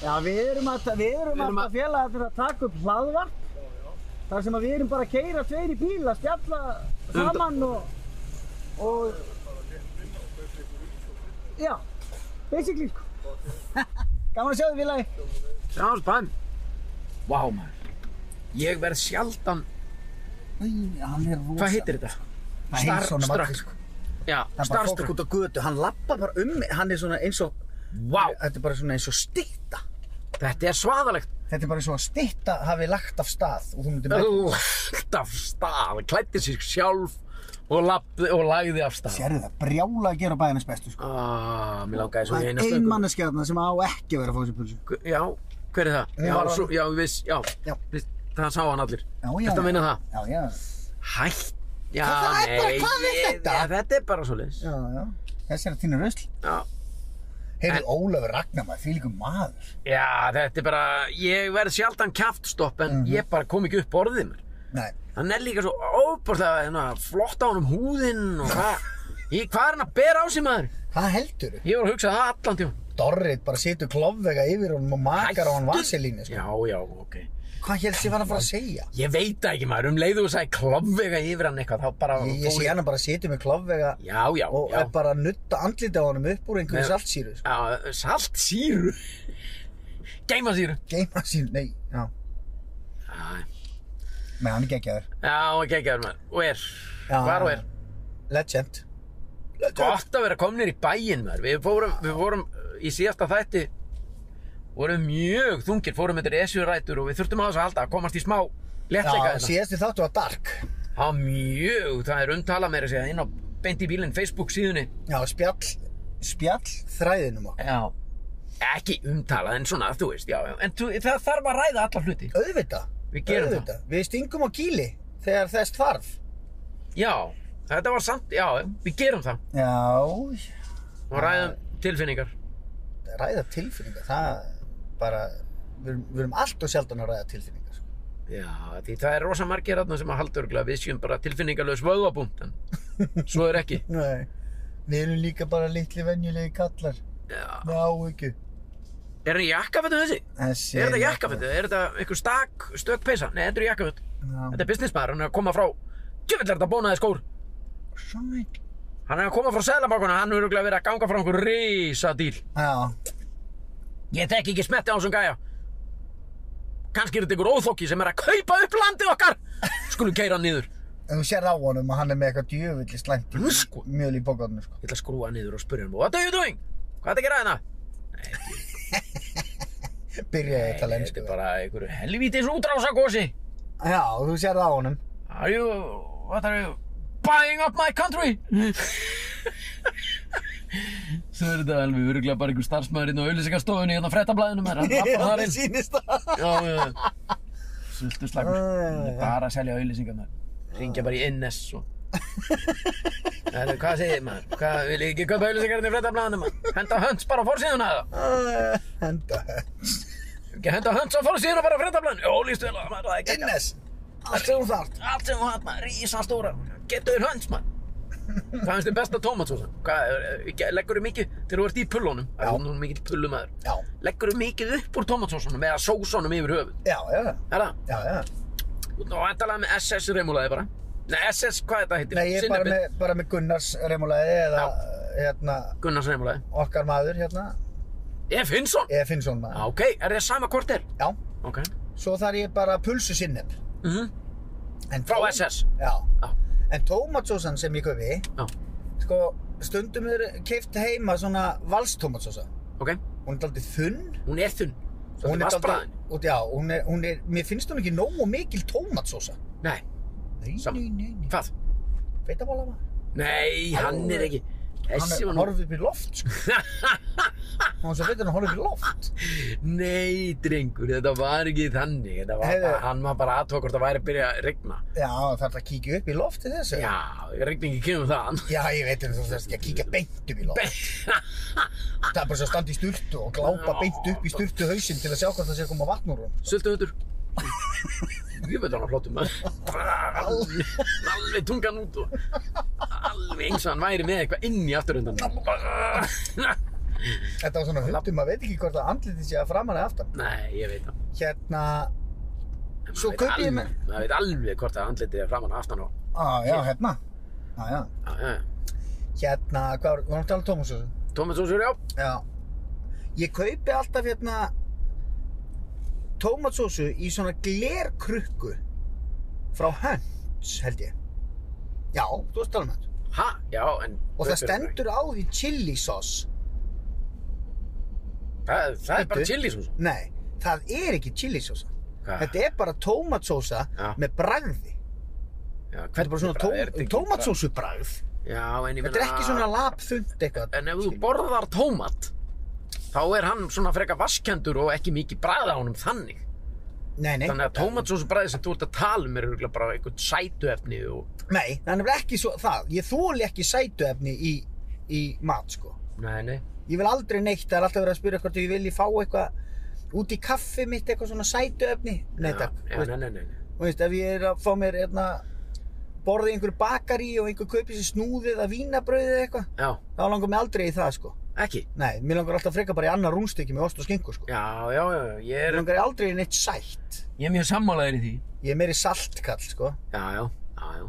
Já, við erum alltaf, við erum Við erum alltaf félagarnir að taka upp hlaðvarp. Þar sem að við erum bara að keyra tveir í bíl að spjalla saman og, og... Já, basically sko. *laughs* Gaman að sjá því félagi. Sjáum spann. Vá, maður. Ég verð sjaldan, Nei, hann er rosa. hvað heitir þetta? Nei, Star- svona Struck. margir, sko. Já, Það er bara fólk starstruck. út á götu, hann lappa bara um mig, hann er svona eins og, Vá, þetta er bara svona eins og stytta. þetta er svaðalegt. Þetta er bara eins og að stytta hafi lagt af stað og þú myndir með, Lagt af stað, klætti sér sjálf og, labdi, og lagði af stað. sérðu það, brjála að gera bæðinnes bestu sko. Ah, mér langaði svo Það í er eina ein stöngu. manneskjarna sem á ekki að vera að fá sér pulsu. Já, hver er það? Hún Já, var- svo, já, ég viss, já. Já. Viss, það sá hann allir. Já, já, Þetta já. meina það. Já, já, Hætt. Já, Það- það er bara- nei, hvað er ég- þetta? Já, þetta er bara svo leiðis. já, já. Þessi er að týna rusl. Já. Heyrðu, Ólafur Ragnar maður, því líka maður. já, þetta er bara, ég verð sjaldan kjaftstopp Mhm. en ég bara kom ekki upp orðið mér. Nei, Hann er líka svo óbúrslega hérna, flott á hann um húðinn og hvað. *laughs* Í- Hvað er hann að bera á sig maður? hvað heldur Ég var að hugsa það allan tíma. Dorrit bara situr klofvega yfir honum og makar á hann Hættu- vaselínu, sko. Já, já, ok. Hvað helst ég var að fara að segja? Ég veit það ekki maður, um leiðu þú sagði klofvega yfir hann eitthvað, þá bara... Ég, ég sé hann bara situr með klofvega Já, já, og já. er bara að nutta andlita á honum upp úr einhverju Nei. saltsýru, sko. Já, salt síru. Geima síru. Geima sín, nei, já. Já, Nei, hann er geggjaður. já, ok, ekki maður. Og er, Já, var og já. er. Legend. Legend. Gott að vera komnir í bæinn maður. Við fórum, við fórum uh, í síðasta þætti, vorum mjög þungir, fórum þetta esjurætur og við þurftum á þess að halda að komast í smá léttleika Já, þetta. síðasti þáttu var Dark. Það er mjög, það er umtala meira segja inn á beint í bílinn Facebook síðunni. Já, spjall, spjall þræðinum okkur. Já. Ekki umtala, en svona, þú veist, já, já. En þú, það þarf að ræða alla hluti. Auðvitað. Við gerum það. Auðvitað. Við stingum á kýli þegar þess þarf. Já, þetta var samt, já, já, við gerum það. Já, Og ræðum tilfinningar. ræða tilfinningar, það bara, við erum, við erum allt og sjaldan að ræða tilfinningar. sko. Já, því það er rosa margir aðna sem að halda örgulega við séum bara tilfinningarlaus vöðvabúnt, en svo er ekki. Nei, við erum líka bara litli venjulegi kallar, Já. með áhyggju. Er þetta jakkafötu þessi? Þessi Er þetta jakkafötu? Er þetta einhver stak, stök peysa? Nei, þetta er jakkafötu. Þetta Já, er businessmaður, hann er að koma frá, djöfill er þetta bónaði skór. sæt. Hann er að koma frá seðlabakuna, hann er örgulega verið að ganga frá einhver risa Já, Ég þekki ekki smetti á þessum gæja. Kannski er þetta einhver óþokki sem er að kaupa upp landið okkar. Skulum keira hann niður. en þú sér á honum að hann er með eitthvað djöfulli slæmt Hann sko- mjöl í bókarnu, sko. Ég ætla að skrúa hann niður og spurja hann. What are you doing? Hvað er að gera hérna? Byrjaði þetta Nei, lensku. Þetta er bara einhverju helvítis útrásagosi. Já, þú sér á honum. Are you... What are you... Buying up my country? Svo er þetta alveg öruglega bara einhver starfsmæður inn á auðlýsingastofunni hérna á frettablaðinu maður. Hann *laughs* Já, rappar þar það inn. sýnist það. *laughs* Já, já, já. Sultu slagur. Hann er Bara að selja auðlýsingar maður. Ringja bara í NS og... Þetta, hvað segir maður? Hvað, vil ég ekki köpa auðlýsingarinn í frettablaðinu maður? Henda hönds bara á forsíðuna eða? Æ, Ah, Henda Ekki henda hönds á forsíðuna bara á frettablaðinu? Jó, líst vel að maður, það er ekki Innes, allt sem þú þart. allt sem þú hatt maður, rísa stóra getur þér hönds *laughs* maður hvað finnst þér besta tómatsósa? Hvað, er- er- leggur þér mikið til þú ert í pullunum Já. það er nú mikill pullumæður Já, leggur þér mikið upp úr tómatsósunum eða sósunum yfir höfuð já, já, er það? já, já. Þú ert nú vantalega með SS reymulaði bara Nei, SS, hvað þetta heitir? Nei, ég er bara Sinnepið. með, bara með Gunnars remulæði eða hérna, Gunnars reymulaði okkar maður hérna, Ef Hinsson? eða Finnsson maður. ok, er það sama hvort er? Já. ok Svo þarf ég bara pulsu sinneb. mm Mhm. frá SS Já. Já. En tómatsósan sem ég kaupi, Já. sko, stundum er keift heima svona valstómatsósa. ok Hún er daldið þunn hún er þunn Hún er vatnsbragðin. dálítið- út- Já, hún er, hún er, mér finnst hún ekki nógu mikil tómatsósa. Nei, Nei, Sam- nei, nei, nei. hvað? Feitabóla maður. Nei, hann er ekki Þessi Hann var er- nú horfði upp í *laughs* loft, sko. Hún svo veitur hann horfði upp í loft. Nei, drengur, þetta var ekki þannig Þetta var Heyrðu. bara, hann var bara aðtók hvort það væri að byrja að regna Já, það þarf að kíkja upp í loft til þessu. Já, regningi kemur þaðan *laughs* Já, ég veit en þú þarfst ekki að kíkja beint upp í loft. Það er bara svo að standa í sturtu og glápa Já. beint upp í sturtu hausinn til að sjá hvað það sé að koma vatn úr hún. Söldu hundur Ég veit hann að flottum alveg, alveg tungan út og alveg eins og hann væri með eitthvað inn í afturhundan Þetta var svona hundum, maður veit ekki hvort að andlitið sé að framan eða aftan. Nei, ég veit það Hérna, Maður Svo veit kaupi ég alveg- mér- Maður veit alveg hvort að andlitið er framan og aftan og á, já, hérna. Á, já. Já, já, já. Hérna, hvað var, var hann að tala um tómasósu? Tómas Ósur, já Já. Ég kaupi alltaf hérna tómatsósu í svona glerkrukku frá Hunts, held ég. Já, þú veist talað um þetta. Ha, já, en Og það stendur á því chili sós. Það, það er bara Stendur. chili svo svo Nei, það er ekki chili sósa. Hvað? Þetta er bara tómatsósa Ah. Já. með bragði. Já, Þetta er bara svona tó, bragð er þetta ekki tómatsósu bragð. bragð? Ah. Já, en ég meina Þetta er ekki svona lapþund eitthvað. En ef þú borðar tómat þá er hann svona freka vaskendur og ekki mikið bræða á honum þannig Nei, nei. Þannig að tómatsósubræði sem þú ert að tala um er örugglega bara eitthvað sætuefni og... Nei, það er nefnilega ekki svo, það. Ég þóli ekki sætuefni í, í mat, sko. Nei, nei. Ég vil aldrei neitt, það er alltaf verið að spyrja hvort ég vilji fá eitthvað út í kaffi mitt, eitthvað svona sætu efni. Nei, Já, takk. Já, nei, nei, nei. nei. Þú veist, ef ég er að fá mér hérna, borðið einhver bakari og einhver kaupið sér snúðið að vínabrauðið eða eitthvað, Já, þá langar mig aldrei í það, sko. ekki. Nei, mér langar alltaf frekar bara í annar rúnstykki með ost og skingu, sko. Já, já, já, já, ég Mér er, langar aldrei í neitt sætt. ég er mjög sammálaður í því. Ég er meiri saltkall, sko. Já, já, já, já.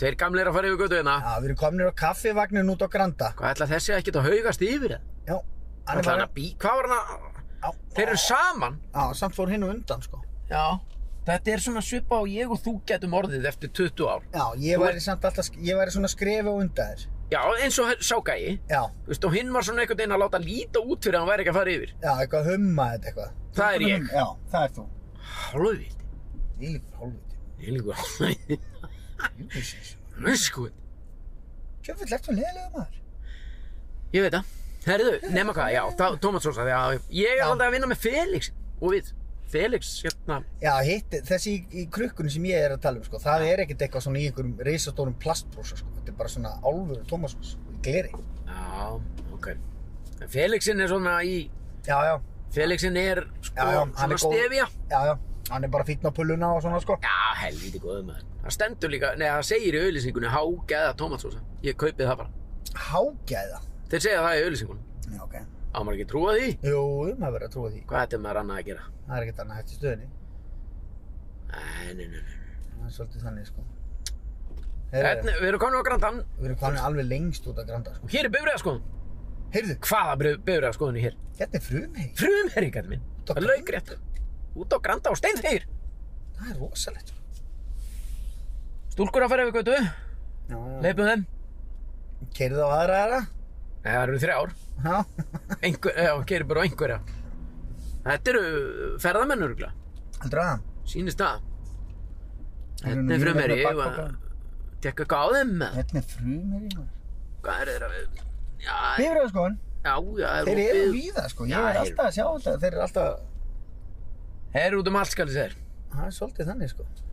Tveir gamlir að fara yfir götu hérna. Já, við erum komnir á kaffivagnin út á Granda. Hvað ætla þessi ekkert að haugast yfir það? Já, hann Ætla er hann bara... að bí... Hvað var hann að... Já, Þeir eru saman. já, samt fór hinn og undan, sko. Já. Þetta er svona svipa og ég og þú getum orðið eftir 20 ár. Já, ég Þú væri samt alltaf, ég væri svona skrefi og undan þér. Já, eins og hann- sá gæi. Já, Þú veist, og hinn var svona einhvern veginn að láta líta út fyrir að hann væri ekki að fara yfir. Já, eitthvað humma þetta eitthvað. Það er ég. Já, það er þú. Hálfvild. Ég líkur hálfviti. Ég líka *laughs* hálfvild. Ég líkur sér svo. Nöskuð. Kjöfvill, ertu leðilega maður? Ég veit það. Herðu, nema hvað, já, þá- Tómas Rósa, já, ég er Já. alltaf að vinna með Felix og við. Felix, hérna, Já, hitt, þessi í, í krukkunni sem ég er að tala um, sko, það er ekkert eitthvað svona í einhverjum reysastórum plastbrósa, sko. Þetta er bara svona álfur Tómasons í gleri. já, ok. En Felixin er svona í, Já, já, Felixin er, sko, Já, já, hann svona er góð. stefja. já, já. Hann er bara fínn á pulluna og svona, sko. Já, helviti góðu maður. Það stendur líka, nei, það segir í auðlýsingunni, hágeða Tómas Rósa. Ég kaupið það bara. Hágæða. Þeir segja það í auðlýsingunni. Já, ok. Á maður ekki að trúa því? Jú, maður verður að trúa því. Hvað ætti maður annað að gera? Það er ekkert annað hægt í stöðinni. Nei, nei, nei, nei. Það er svolítið þannig, sko. Hérna, Heyrðu, við erum komin á Grandan Við erum komin alveg lengst út af Granda, sko. og hér er bifræðaskoðun. Heyrðu, Hvaða bifræðaskoðun er hér? hérna er frumhegi. Frumherringar minn. á Það er laugrétt. Út á Granda og steinþegir. Það er rosalegt, sko. Stúlkur að fara yfir götu, Já, já. leipum þeim. Keirðu á aðra aðra? Nei, það eru þrjár. Já. *laughs* Einhver, já, gerir bara á einhverja. Þetta eru ferðamennur, örgulega. Heldur það? Sýnist það. Eru Þetta nú er frumherri. mjög Ég mörg var bakpoka? tekka eitthvað á þeim. eða? Hérna er frumherri maður. Hvað er þeirra við? Já, já, Bifröðu sko hann. já. er Þeir eru opið. víða sko. Ég Já, er þeir- alltaf að sjá þetta. Þeir eru alltaf... Þeir eru út um allt, skal ég segja. Það er svolítið þannig sko. þér.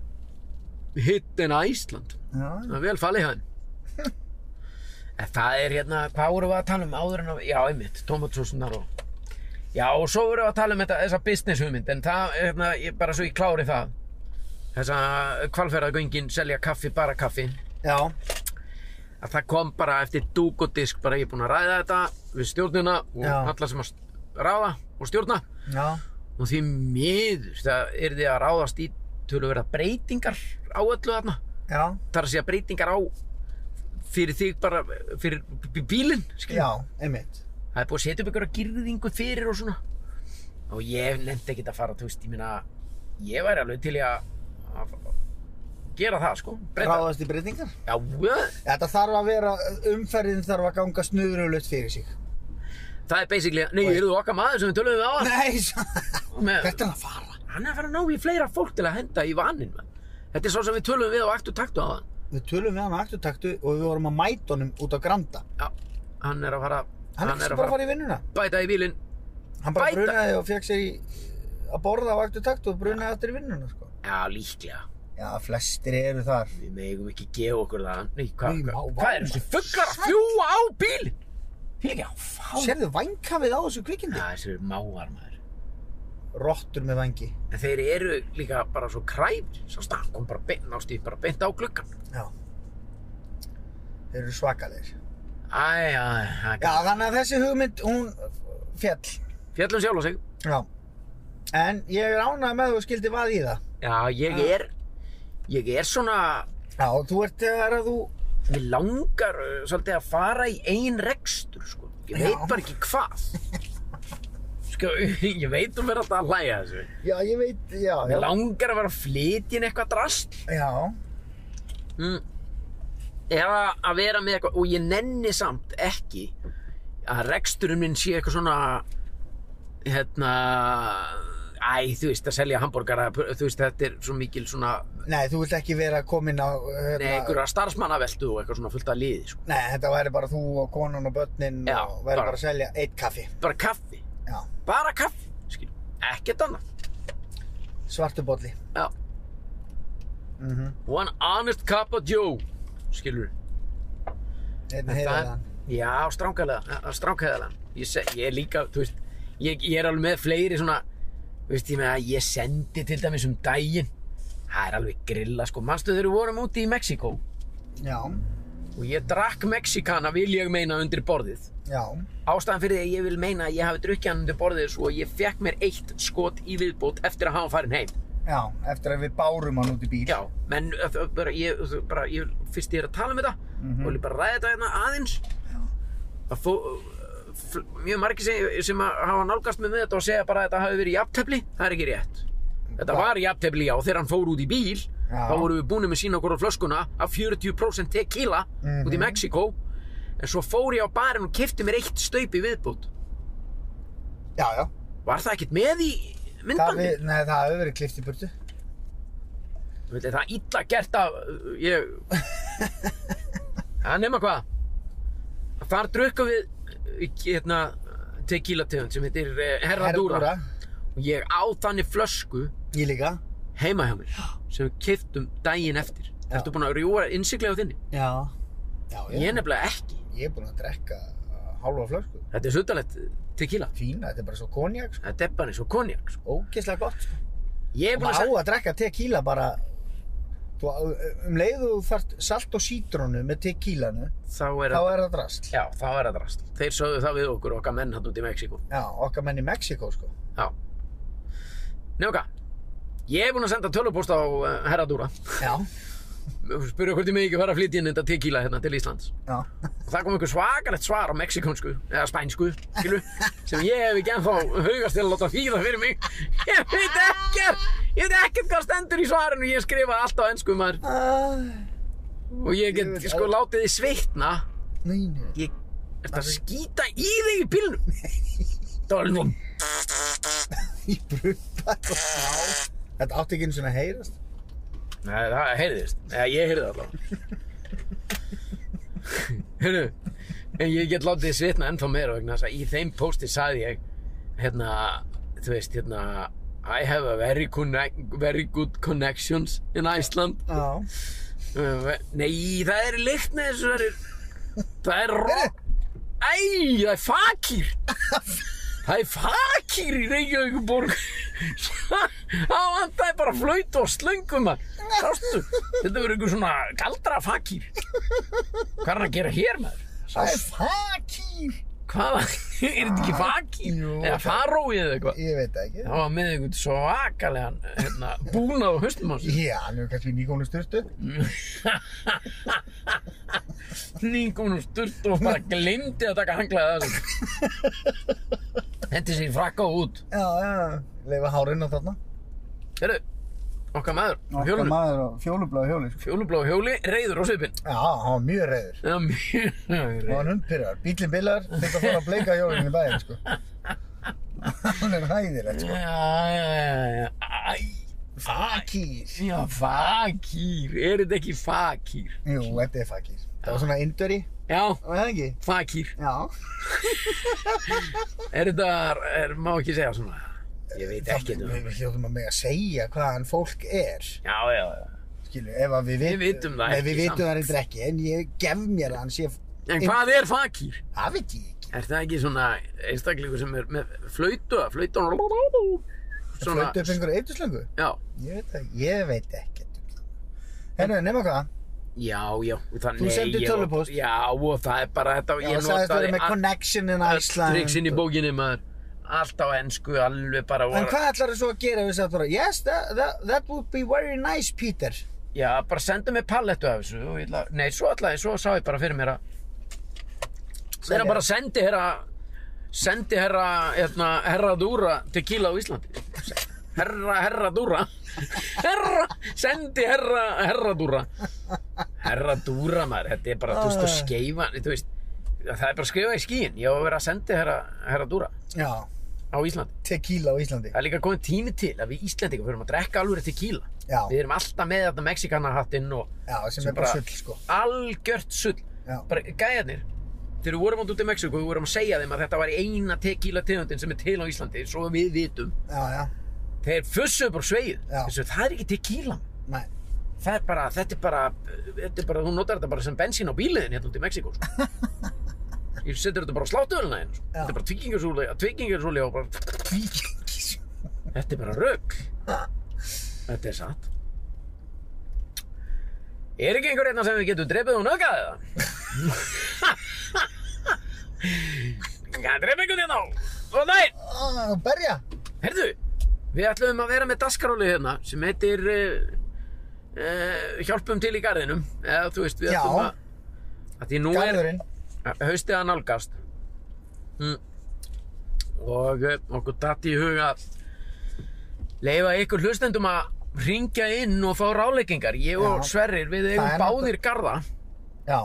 Hittin að Ísland. Já. Það er vel fallið *laughs* hann. en það er hérna, hvað vorum við að tala um áður en að, já, einmitt, tomatsósunar og... Já, og svo vorum við að tala um þetta, þessa business hugmynd, en það, hérna, ég, bara svo ég klári það. Þessa kvalferðagöngin, selja kaffi, bara kaffi. Já. Að það kom bara eftir dúk og disk, bara ég er búinn að ræða þetta við stjórnuna og Já. alla sem að st- ráða og stjórna. Já. Og því miður, það er því að ráðast í töluverða breytingar á öllu þarna Já. þar að segja breytingar á fyrir þig bara, fyrir b- bílinn skilur. Já. Einmitt. það er búið að setja upp einhverja girðingu fyrir og svona og ég nefndi ekkert að fara, þú veist, ég meina ég væri alveg til í að að gera það, sko breyta, Ráðast í breytingar. já, vö- Þetta þarf að vera... Umferðin þarf að ganga snuðröflut fyrir sig. það er basically, nei, eru þú okkar maður sem við tölum við á hann? Nei, *laughs* svo- Með, hvert er hann að fara? hann er að fara að ná í fleira fólk til að henda í vaninn, mann. Þetta er svo sem við tölum við á aktu taktu á hann. Við tölum við hann á aktutaktu og við vorum að mæta honum út á Granda. Já, hann er að fara, Hann, hann er bara að fara í vinnuna. bæta í bílinn. Hann bara Bæta. brunaði og fekk sér í að borða á aktutaktu og brunaði aftur í vinnuna, sko. Já, líklega. Já, flestir eru þar. Við megum ekki gefa okkur það. Nei, hvað Nei, hva, vá, vá, hvað er þessi fugglar að fljúa á bíl? Fyrir á fá. Serðu vænkafið á þessu kvikindi? Það er sér mávar maður. Rottur með vangi. En þeir eru líka bara svo kræfir. Svo stann kom bara beint, nást í bara beint á gluggan. Já. Þeir eru svakalegir. Æ, æ, æ, Já, þannig að þessi hugmynd, hún fjall. fjallum sjálf á sig. Já. En ég er ánægð með að þú skildi vað í það. Já, ég Ah. er, ég er svona, Já, þú ert þegar að þú... mér langar uh, svolítið að fara í ein rekstur, sko. Ég veit Já. bara ekki *laughs* hvað. Sko, *laughs* ég veit um verið alltaf að hlæja þessu. Já, ég veit, já, Mér langar að vera að flytja inn eitthvað drast. Já, mm, eða að vera með eitthvað og ég nenni samt ekki að reksturinn minn sé eitthvað svona hérna æ, þú veist, að selja hambúrgara þú veist, þetta er svo mikil svona nei, þú vilt ekki vera komin á... Hérna, nei, einhverja starfsmannaveldu og eitthvað svona fullt af liði sko. Nei, þetta væri bara þú og konan og börnin Já, og væri bara bara- að selja eitt kaffi. bara kaffi, Já, bara kaffi skil. ekkert annað svartubolli. Já. Mm Mhm. -hmm. one honest cup of joe skilur Einn heiðan. Já, stránkæðilega, stránkæðilega. Ég, se- ég er líka, þú veist, ég, ég er alveg með fleiri svona, þú veist, ég með að ég sendi til dæmis um daginn. Það er alveg grilla, sko. Manstu þegar við vorum úti í Mexíkó Já, Mm. og ég drakk Mexíkana, vil ég meina, undir borðið. já, Ástæðan fyrir því að ég vil meina að ég hafi drukkið hann undir borðið svo að ég fekk mér eitt skot í viðbót eftir að hafa farin heim. já, eftir að við bárum hann út í bíl. Já, menn, ö- ö- bara, ég, ö- bara, ég, fyrst ég er að tala um þetta Mhm. og vil bara ræða þetta hérna aðeins að fó, fl- mjög margir sem, sem að hafa nálgast mig með þetta og segja bara að þetta hafi verið jafntefli, það er ekki rétt Þetta Hva? var jafntefli, já, þegar hann fór út í bíl Já. þá vorum við búin með sína okkur á flöskuna af 40% tequila út í Mhm. Mexíkó en svo fór ég á barinn og kefti mér eitt staupi viðbútt já, já. Var það ekkert með í Það, myndbandi? við, nei, það hefur verið klift í burtu. Þú veit, það er illa gert af, uh, ég... Það er nema hvað. Þar drukkum við, eh, hérna, tequila tegund sem heitir eh, Herradura. Herradura. Og ég á þannig flösku Ég líka. heima hjá mér sem við kiftum daginn eftir. Já. Ertu búin að rjúa innsiklega á þinni? Já. Já, ég, Ég er nefnilega ekki. ég er búinn að drekka uh, hálfa flösku. Þetta er suttalegt tequila. Fína, þetta er bara svo konjak, sko. Þetta er bara eins og konjak, sko. Ógeðslega gott, sko. Ég er Og búin að maður á segja... að drekka tequila bara... Þú, um leiðu þú þart salt og sítrónu með tequilanu, Þá er þá það... er það drast. Já, þá er það drast. Þeir sögðu það við okkur, okkar menn hann út í Mexíkó. Já, okkar menn í Mexiko, sko. Já. Nefnum hvað? Ég er búinn að senda tölvupóst á uh, Herradúra. Já. Spurðu hvort ég með ekki fara að flytja inn þetta tequila hérna til Íslands. Já. Og það kom einhver svakalegt svar á mexikonsku, eða spænsku, skilu, sem ég hef ekki ennþá hugast til að láta þýða fyrir mig. Ég veit ekkert, ég veit ekkert hvað stendur í svarinu, ég skrifa allt á ennsku maður. Og ég Ég veit get, sko, al- látið þið svitna, Nei, nei. ég, ertu að skýta í þig í bílnum? *laughs* Það var alveg, Í brumpa. Þetta átti ekki einu svona að heyrast. Nei, það heyrðist. Nei, ég heyrði það allavega. Hörru, en ég get látið svitna ennþá meira vegna þess að í þeim pósti saði ég, hérna, þú veist, hérna, I have a very, connect, very good connections in Iceland. Já. Uh, Nei, það er lykt með þessu, það er, það er ró... Æ, það er fakir! Það er fakir í Reykjavíkuborg. Það vantaði bara flöyt og slöngum að. Sástu, þetta verður einhver svona galdra fakir. Hvað er hann að gera hér maður? Það er fakir. Hvað, er þetta ekki fakir? Jú. Eða farói eða eitthvað? Ég veit það ekki. Það var með einhvern svakalegan hérna, búnað á höstum á sig. Já, hann er kannski nýgónu styrtu. Ningum og sturt og bara glimti að taka hanglaði að þessu. Hendi sér í frakka og út. Já, já, leifa hárinn á þarna. Hérru, okkar maður á Okkar hjólinu. maður á fjólubláðu hjóli, sko. Fjólubláu hjóli, reyður á svipinn. Já, hann var mjög reyður. Það er mjög *laughs* Og reyður. hann umpyrrar. Bílinn bilar, þetta fór að bleika jólinn í bæinn, sko. hann er hæðilegt, sko. Já, já, já, já. Æ, Fakir. já, fakir. Er þetta ekki fakir? Jú, þetta er fakir. Það var svona indöri, Já, var það ekki? fakir. Já. Er þetta, er, má ekki segja svona. Ég veit Ekki, um við hljóðum að mega segja hvaðan fólk er. Já, já, já. Skilu, ef að við, Við vitum það nei, ekki Við vitum samt. það reyndar ekki, en ég gef mér að hann sé... En hvað er fakir? Það veit ég ekki. Er það ekki svona einstaklingur sem er með flöytu, flöytu, svona, Flötu upp einhverju eitthuslöngu? já, Ég veit ekki. Ég veit ekkert um það. Herru, nema hvað? já, já, þannig. Þú sendir tölvupóst. Já, og það er bara þetta, Ég sagðist verið með all- connection in öll Iceland. triksin í og- bókinni maður, allt á ensku, alveg bara, En hvað ætlar þú svo að gera ef við sagðum bara, yes, that, that, that would be very nice, Peter. já, bara sendu mér pallettu af þessu og ég ætla, nei, svo ætla ég, svo sá ég bara fyrir mér að, þeirra bara sendi herra, sendi herra, hérna, herra dúra tequila á Íslandi, herra, herra dúra, herra, sendi herra, herra dúra, herra dúra maður, þetta er bara, þú veist, þú skeifa, þú veist, það er bara að skrifa í skíin, ég á að vera að sendi herra, herra dúra Já, á Íslandi. tequila á Íslandi. Það er líka komið tími til að við Íslendingar fyrir að drekka alveg tequila. Já. Við erum alltaf með þetta Mexikanahattinn og Já, sem, sem er bara bara- sull, sko. algjört sull. Já. Bara gæðarnir, þegar við vorum átt út í Mexiko, við vorum að segja þeim að þetta var eina tequila tegundin sem er til á Íslandi, svo við vitum. Já, já, Þeir fussu upp á sveið. Já. Þessu, það er ekki tequila. *laughs* næ. Það er bara, þetta er bara, þetta er bara, þú notar þetta bara sem bensín á bíliðin hérna út í Mexiko, sko. *laughs* Ég setur þetta bara á sláttuvelina hérna, sko. Já. Þetta er bara tvíkingarsúli, tvíkingarsúli og bara, sko. þetta er bara rögg. Þetta er satt. Er ekki einhver einna sem við getum drepið og nöggað eða? Hvað drepið einhvern hérna á? Ó nei, Ah, berja. heyrðu, við ætlum að vera með daskaróli hérna sem heitir uh, uh, Hjálpum til í garðinum. Eða þú veist, við Já. ætlum að... að Því nú Garðurinn. er haustið að nálgast. Mm. Og eh, okkur datt í huga að leifa ykkur hlustendum að ringja inn og fá ráleikingar. Ég og Já. Sverrir, við Það eigum er báðir garða. Já.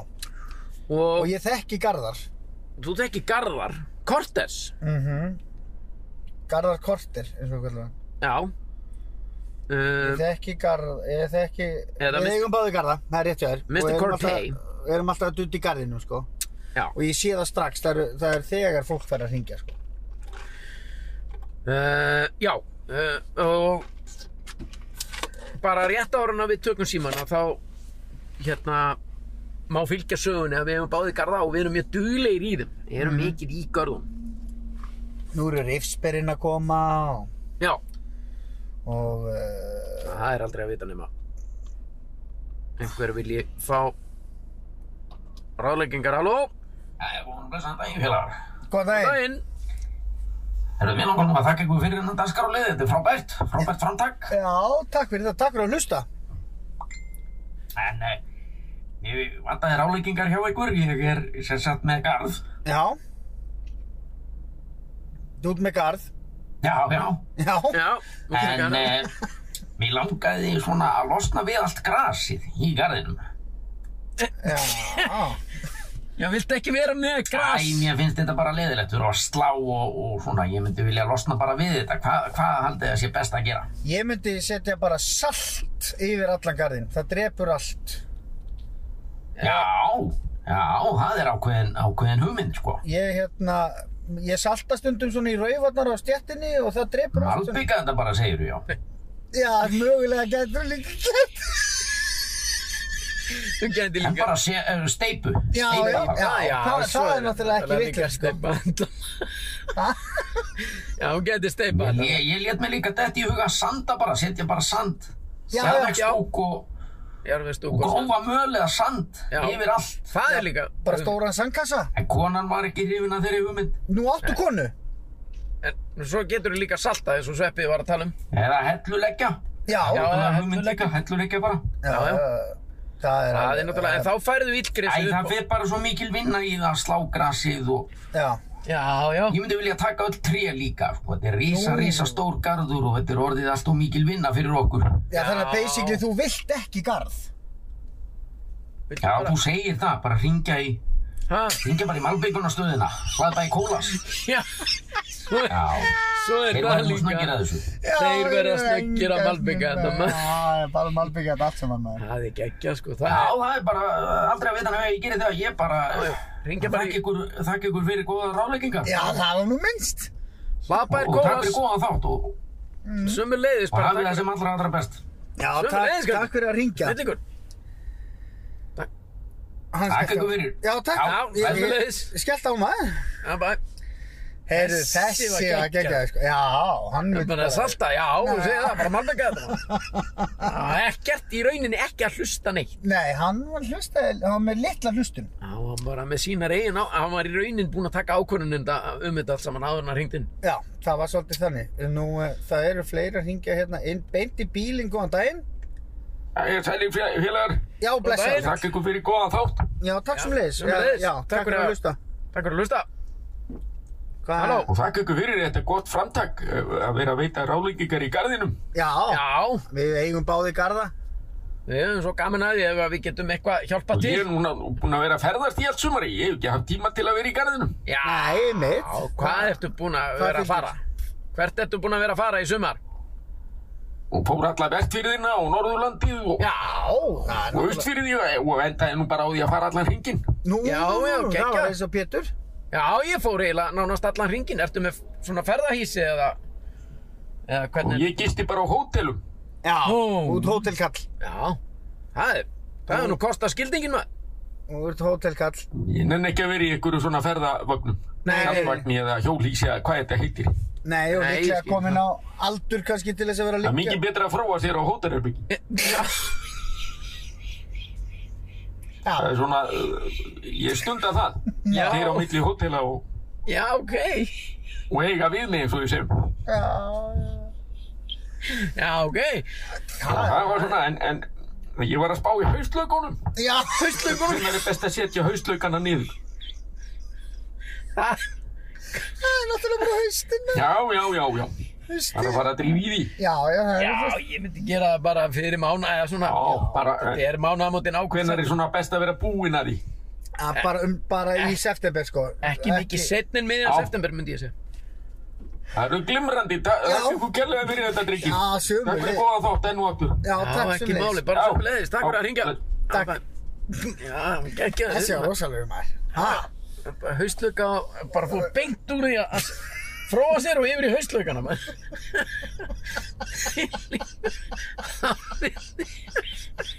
og, Og ég þekki Garðar. þú tekir Garðar Cortes Mhm. Garðar Korter, eins og við kallum hann. já Ég uh, þekki Garð, ég þekki... Eða við Mr. eigum báði Garða, það er rétt hjá þér. Mr. Og erum Cortey. alltaf- Við erum alltaf að dutt í Garðinum, sko. Eh, já Og ég sé það strax, það er, það er þegar fólk fær að hringja, sko. uh, já uh, og bara rétt ára að við tökum símana þá hérna má fylgja sögunni að við hefum báðið garða og við erum mjög duglegir í þeim við Mhm. erum mikið í garðum Nú eru rifsberinn að koma og... já og uh, það er aldrei að vita nema einhver vilji fá ráðleggingar halló það er búin að senda í félagar góðan daginn daginn Herðu, mér langar nú að þakka ykkur fyrir hennan daskar og liði, þetta er frábært, frábært framtak já, takk fyrir þetta, takk fyrir að hlusta En eh, ég vantaði ráleikingar hjá ykkur, ég er sem sagt með garð já þú ert með garð Já, já, já, Já, en eh, mér langaði svona að losna við allt grasið í garðinum. já, Já, viltu ekki vera með Æ, mér finnst þetta bara leiðilegt, við erum að slá og, og svona, ég myndi vilja losna bara við þetta. Hva, hvað haldið það sé best að gera? ég myndi setja bara salt yfir allan garðin það drepur allt Já, já, það er ákveðin, ákveðin hugmynd, sko. ég hérna, ég salta stundum svona í rauvarnar á stjettinni og það drepur allt Albyggja þetta bara, segir þú, já. já, mögulega getur líka gert Þú gæti En líka bara se, uh, steipu. Já, steipu já, bara. já. það- svo það er náttúrulega ekki náttúrulega líka vitlaust, sko. steypa. *laughs* Já, hún gæti steipa Ég, ég, ég let mér líka þetta í huga að sanda bara, setja bara sand. Já, já. Sandvegstúk og, Ég er við og stúk grófa möl eða sand Já. yfir allt. Það er líka bara stóran sandkassa En konan var ekki hrifin að þeirri hugmynd. nú áttu konu En svo getur þú líka salta eins og sveppið var að tala um Eða helluleggja. já, Já, Það er hugmynd helluleggja. líka, helluleggja bara. já, já. uh, það Það er er alveg- náttúrulega, en þá færðu Æ, illgriðslu það fyrir bara svo mikil vinna í það að slá grasið og, já, Já, já. Ég myndi vilja taka öll tré líka, sko. Þetta er rísa, rísa stór garður og þetta er orðið allt og mikil vinna fyrir okkur. Já, þannig að basically þú vilt ekki garð. Viltu Já, bara- þú segir það, bara ringja í, Ha? ringja bara í malbyggunarstöðina, hlaðba í kólas. Já. Svo er, Já, svo er þeir það verða nú líka. snöggir að þessu. Já, Þeir verða eru snöggir að engar malbika hérna. snöggar. þetta maður. Já, bara malbika þetta allt saman maður. Það er geggja sko. Já, Það það er bara uh, aldrei að vita nefn að ég gerir það, ég bara já. Hringja bara í- þakka ykkur, þakka ykkur fyrir góða ráleggingar Já, það var nú minnst. er hlapa er og takk fyrir góðast. góðan þátt og, Sumur leiðis og bara. hafið það sem allra allra best. Já, Sömuleiðis, takk, Gauti. takk fyrir að ringja. Snillingur. Hann Takk skellti ykkur á. fyrir. Já, takk. Já, Ég- sömuleiðis. ég- Skellt á maður. Já, bara. Heyrðu, Þessi þessi var var geggjaður. geggjað, sko. Já, hann Það er bara að salta, já, þú segir það, bara malbika þetta maður. Ekkert í rauninni ekki að hlusta neitt. Nei, hann var hlusta, hann var með litla hlustun. Já, hann var með sínar eigin á, hann var í raunin búinn að taka ákvörðunum um þetta allt saman áður en hann hringdi inn. Já, það var svolítið þannig. Nú, eh, það eru fleiri að ringja hérna inn, beint í bílinn, góðan daginn. Ég sælir félagar, Já, daginn. blessa. þakka ykkur fyrir góðan þátt. Já, takk Já, sem leiðis. sömuleiðis. Já, Takk takk fyrir fyrir að að- hlusta. Takk fyrir að hlusta. Hvað- Halló. Og þakka ykkur fyrir þetta gott framtak eh, að vera að veita ráleggingar í garðinum. Já, Já, við eigum báði garða. við höfum svo gaman að því ef að við getum eitthvað hjálpa Og til. ég er núna búin að vera að ferðast í allt sumari, ég hef ekki haft tíma til að vera í garðinum. Já, Nei, mitt. já, hvað ertu búinn að Hvað vera að fylgir? fara? Hvert ertu búinn að vera að fara í sumar? Og fór alla vertfyrðina og Norðurlandið og, Já, Það er og austfyrði og, og endaði nú bara á því að fara allan hringin. Nú, Já, já, það geggjað. var eins og Pétur. já, ég fór eiginlega nánast allan hringin. Ertu með svona ferðahísi eða, eða Og hvernig? ég gisti bara á hótelum. Já, Ó. út hótelkall. Já, það er, það er nú kosta skildingin maður. Út hótelkall. Ég nenn ekki að vera í einhverju svona ferðavögnum. Nei. Kallvagni eða hjólísi eða hvað þetta heitir. Nei, og Nei, ég líklega skil komin á aldur kannski til þess að vera Það líka. er mikið betra að fróa sér á hótelherbyggi. Það Já, er svona, uh, ég stunda það. Já. Þeir á milli hótela og, Já, ok. og eiga við mig eins og ég sem. já, já. Já, ok. Það var svona, en, en ég var að spá í hauslaugunum. Já, haustlökunum. Hvernig er best að setja hauslaugana niður? Það, Það er náttúrulega bara haustinn. maður. Já, já, já, já. Það er Haustinn. að fara að drífa í því. Já, já, það er já, fyrst. ég myndi gera það bara fyrir mánu, eða svona, Já, bara, eh, þetta er mánuðamótin hvenær ákveðnar. er svona best að vera búinn að því? Já, bara, um, bara í september, sko. Ekki mikið setn en miðjan Já. september, myndi ég segja. Það eru glimrandi, það Já. er ykkur kellega fyrir þetta drikkið. Já, sömu Takk fyrir leið. góða þátt enn og aftur. Já, Já, takk ekki sem máli, leist. bara Já. svo leiðis, takk fyrir að ringja. Takk. Já, ekki að Þessi var rosalegur maður. Ha? Bara Haustlauka, bara fór beint úr því að fróa sér og yfir í haustlaukana, maður. *laughs*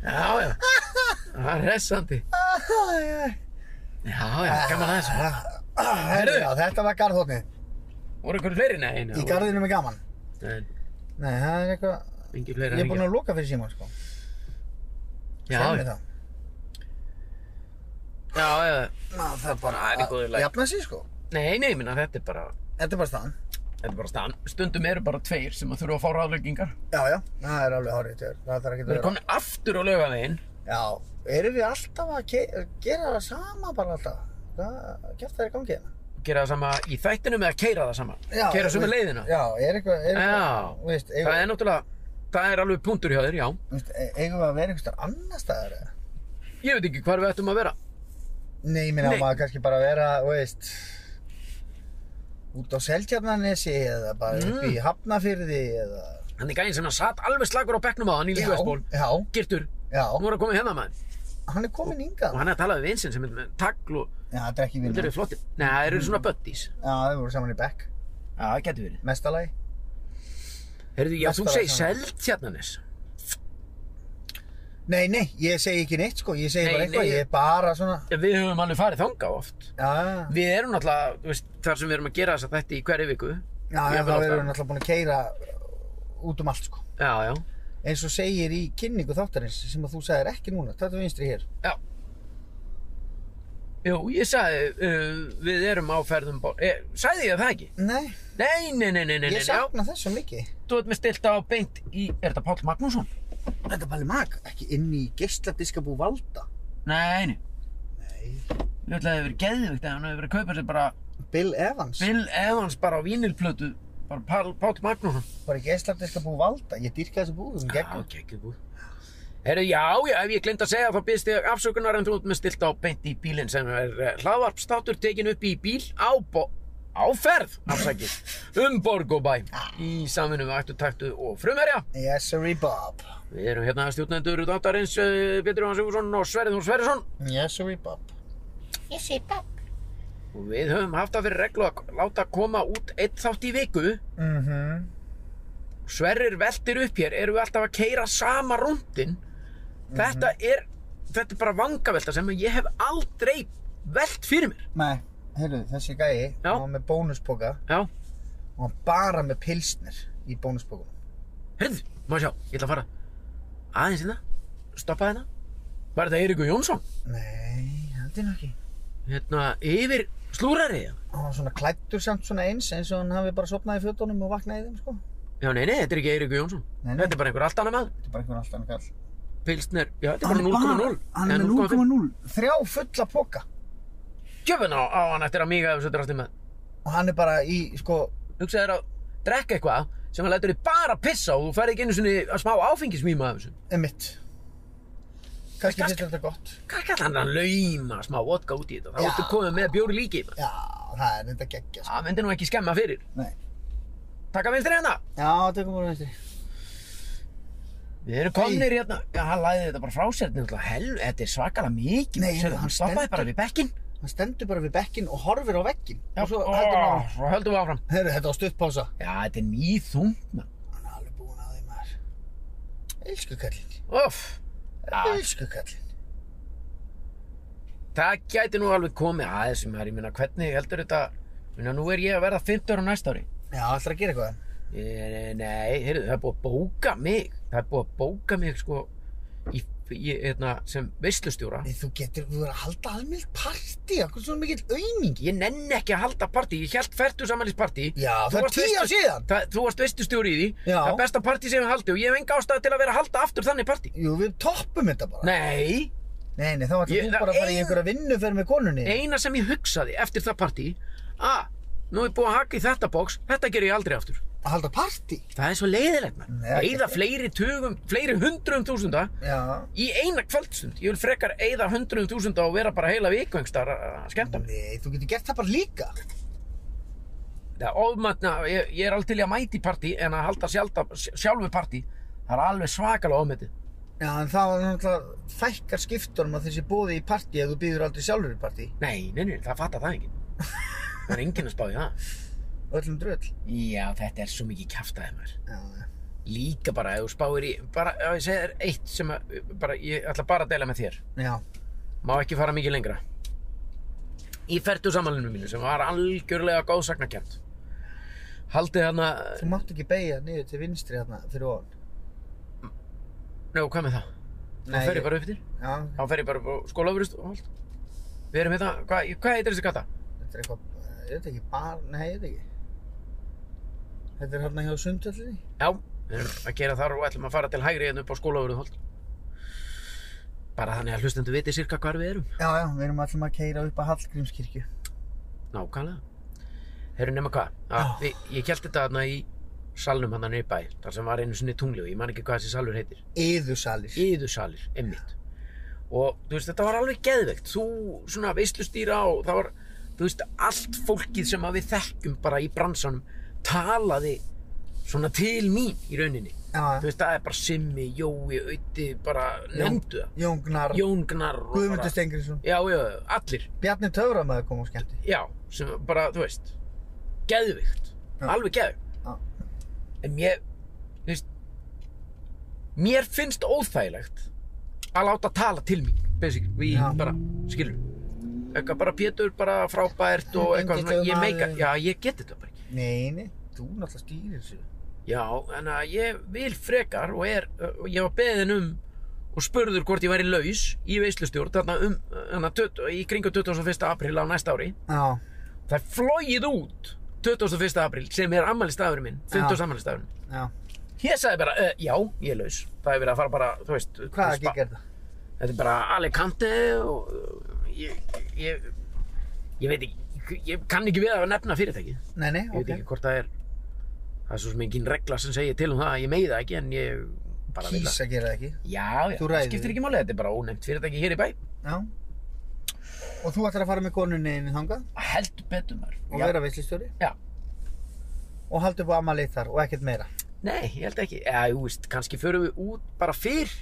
Já, já, það er hressandi. Já, já, gaman aðeins. Herru, já, þetta var garðhóttnið. Voru einhverju fleiri? Nei, nei. Í garðinum er gaman. Nei, Nei, það er eitthvað... engi fleiri. Ég er búinn að loka fyrir síma, sko. Já, Segðu mér já, það. já, já. Ná, það er bara Það er í góðu lagi. að jafna sig, sko. Nei, nei, minna, þetta er bara, Þetta er bara staðan. þetta er bara stann. Stundum eru bara tveir sem að þurfa að fá ráðleggingar. Já, já, það er alveg horrið tjör. Það þarf ekki að Við erum vera. komin aftur á laugaveginn. Já, erum við alltaf að ke- gera það sama bara alltaf? Hvað gert það í gangi hérna? Gera það sama í þættinum eða keira það sama. Já, keira sömu veist- leiðina. Já, er eitthvað, er eitthvað, Já. þú veist, eigum, það er náttúrulega, það er alveg punktur hjá þér, já. þú veist, e- eigum við að vera einhverstað annar staðar eða? Ég veit ekki hvar við ættum að vera. Nei, ég minna, Nei. maður kannski bara vera, þú veist, út á Seltjarnanesi eða bara upp Mm. í Hafnafyrði eða... Þannig gæðin sem hann satt alveg slagur á bekknum á hann í Já, lífvæsból. já, Girtur, já, hún voru að koma hérna maður. hann er kominn Og hingað. hann er að tala við vinsinn sem er með tagl og Já, þetta er ekki þetta vinna. eru flottir. Nei, það eru svona buddies. Já, þau voru saman í Beck, Já, það getur verið. mestalagi. Heyrðu, já, þú Mest segir bara Seltjarnanes. Nei, nei, ég segi ekki neitt, sko, ég segi Nei, bara eitthvað, nei. ég er bara svona... Ja, Við höfum alveg farið þangað oft. Já, Við erum náttúrulega, þú veist, þar sem við erum að gera þess að þetta í hverju viku. já, Ég já, er þá bara erum við alltaf- náttúrulega búin að keira út um allt, sko. Já, já. Eins og segir í kynningu þáttarins sem að þú sagðir ekki núna, þetta vinstri hér. Jú, ég sagði, uh, við erum á ferðum bór. Eh, sagði ég það ekki? Nei, Nei, nei, nei, nei, nei, nei, ég já. sakna þessu mikið. Þú ert með stilt á beint í, er þetta Páll Magnússon? Þetta er bara mag, ekki inn í geisladiskabú valda. Nei, nei. Nei. Ég ætla að það hefur verið geðvikt ef hann hefur verið að kaupa sér bara Bill Evans Bill Evans bara á vínilplötu bara Pál, Páll Magnússon bara í geisladiska bú valda ég dýrka þessu búðum gegnum geggjuð búð Herru, já, já, ef ég glind að segja þá býðst ég afsökunar en þú ert með stilt á beint í bílinn sem er eh, hlaðvarpstátur tekin upp í bíl á bo á ferð, afsakið, um borg og bæ í samvinnu við ættu taktu og frumherja. yes sirrý Bob Við erum hérna stjórnendur þáttarins uh, Pétur Jóhann Sigurðsson og Sverrið Þór Sverrisson yes sirrý Bob og við höfum haft það fyrir reglu að láta koma út einn þátt í viku mhm Sverrir veltir upp hér, erum við alltaf að keira sama rúndin Þetta Mhm. er, þetta er bara vangavelta sem ég hef aldrei velt fyrir mér nei heyrðu þessi gæi Já. hann var með bónuspoka Já, og hann bara með pilsnir í bónuspokum heyrðu, maður sjá, ég ætla að fara aðeins hérna, stoppa hérna Var þetta Eiríkur Jónsson? nei held ég nú ekki Hérna, yfir slúrari eða? hann var svona klættur samt svona eins eins og hann hafi bara sopnað í fjötunum og vaknaði í þeim sko Já, nei, nei, þetta er ekki Eiríkur Jónsson Nei, nei. Þetta er bara einhver allt annar maður þetta er bara einhvern alltaf kall Pilsner, já, þetta er Hann er bara 0,0 hann er eða með 0,0 þrjá fulla poka Gjöfun á, á hann eftir að míga ef þessu drastir með og hann er bara í sko Hugsaðu þér að drekka eitthvað sem hann lætur þig bara pissa og þú færð ekki einu sinni að smá áfengismíma af þessu emitt kannski finnst þér þetta gott Hvað kallar hann að lauma smá vodka út í þetta? Þá Já. ertu komið með bjóri líki í þetta. já það er þetta geggja sko. Það myndi nú ekki skemma fyrir. Nei. Takka vinstri hérna. já tökum bara næstu Við erum komnir hérna. Já, hann læði þetta bara frá sér. Náttúrulega, hel, þetta er svakalega mikið. Nei, Sérðu, hann hann stoppaði stendur- bara við bekkinn. hann stendur bara við bekkin og horfir á vekkin Já, og svo heldur hann áfram. Svo höldum við áfram. Heyrðu, þetta var stuttpása Já, þetta er nýþungna. hann er alveg búinn að því maður elsku kallinn Uff. Já, elsku kallinn það gæti nú alveg komið aðeins sem er. Ég meina, hvernig heldur þetta... Ég Meina, nú er ég að verða 50 ára næsta ári. já ætlar að gera eitthvað Eh, Nei, heyrðu, það er búið að bóka mig. Það er búið að bóka mig, sko, í, í, hérna, sem veislustjóra. Nei, þú getur þú verður að halda alveg partí okkur svona mikill aumingi ég nenni ekki að halda partí, ég held færtu samanlýspartí já það er tíu ár síðan Það, þú varst veistustjóri í því, Já. það er besta partí sem ég haldi og ég hef enga ástæða til að vera að halda aftur þannig partí jú við toppum þetta bara Nei, nei nei þá ætlar Ég- þú bara að fara í ein- einhverja vinnuferð með konunni eina sem ég hugsaði eftir það partí að nú er búið að haka í þetta bóks, þetta ger ég aldrei aftur að halda partí Það er svo leiðilegt mann, Nei, ekki. eigða fleiri tugum, fleiri hundruðum þúsunda já í eina kvöldstund Ég vil frekar eigða hundruðum þúsunda og vera bara heila vikvengstar að skemmta mig Nei, þú getur gert það bara líka. Það er ofmatna, ég, ég er aldrei til í að mæti partí en að halda sjálf, sjálfu partí, það er alveg svakalega ofmetið Já, en það var náttúrulega fækkar skiptunum að þessi bóði í partí ef þú býður aldrei sjálfur í partí. Nei, nei, nei, það fattar það enginn. Það er enginn að spá í það. Öllum dröll. Já, þetta er svo mikið kjaftaðið maður. Já, já. Líka bara ef þú spáir í, bara, ef ég segir eitt sem að, bara, ég ætla bara að deila með þér. Já, Má ekki fara mikið lengra. Í ferdu samanlunum mínu sem var algjörlega góðsagnakjönd. Haldið hana, þú mátt ekki beigja niður til vinstri þarna fyrir ofan. njó, hvað með það? Þá Nei, fer ég ég- bara upp yfir, Já, þá fer ég bara upp á skólaufurist og allt. Við erum hérna, hvað, hvað heitir þessi gata? þetta er eitthvað, ég veit ekki, bar, nei, ég veit ekki. Þetta er hérna hjá Sundhöllinni. Já, við erum að gera þar og ætlum að fara til hægri hérna upp á skólaufurist. Bara þannig að hlustendu viti sirka hvar við erum. Já, já, við erum allum að keira upp að Hallgrímskirkju. Nákvæmlega. Herru nema hvað, að við, ég kjælt þetta þarna í salnum hann í bæ, þar sem var einu sinni tungli og ég man ekki hvað þessi salur heitir. Yðursalir. Íðusalir, emmitt. Og þú veist, þetta var alveg geðveikt. Þú svona veislustýra og það var, þú veist, allt fólkið sem að við þekkjum bara í bransanum talaði svona til mín í rauninni. Já, Þú veist, það er bara Simmi, Jói, Ötti, bara nefndu það. Jón Gnar, Jón Gnar og Guðmundur Stengriðsson, Já, já, allir. Bjarni Töframæður kom og skemmti. Já, sem bara, þú veist Geðvikt, Já. alveg geðvikt Já. En mér, þú veist Mér finnst óþægilegt Að láta tala til mín Basic, við Já. bara, skilur Eitthvað bara Pétur, bara frábært Og eitthvað svona, ég meika Undirdömaður. Já, ég get þetta bara ekki Nei, nei, þú náttúrulega stýrir þessu. Já, en að ég vil frekar Og er, og ég var beðin um Og spurður hvort ég væri laus Í veislustjórn, þarna um þarna, 20 Í kringu 21. apríl á næsta ári Já, Það er flóið út 21. apríl sem er ammælistafurinn minn 50. ammælistafurinn já. Ég sagði bara, uh, já, ég er laus Það er verið að fara bara, þú veist Hvaða spa- gig er það? Þetta er bara Alicante og uh, eh, ég, ég Ég veit ekki, ég kann ekki við að nefna fyrirtækið. Nei, nei, Ég veit ok. ekki hvort það er, það er svo sem engin regla sem segir til um það að ég megi það ekki en ég bara vil Kýs það. að gera það ekki. Já, já, Þú það ræður skiptir því. ekki máli, þetta er bara ónefnt fyrirtæki hér í bæ. Já. Og þú ætlar að fara með konunni inn í þangað Heldur betur maður. og Já. vera veislistjóri? Já. Og halda upp á amalið þar og ekkert meira? Nei, ég held ekki. Já, jú, veist, kannski förum við út bara fyrr.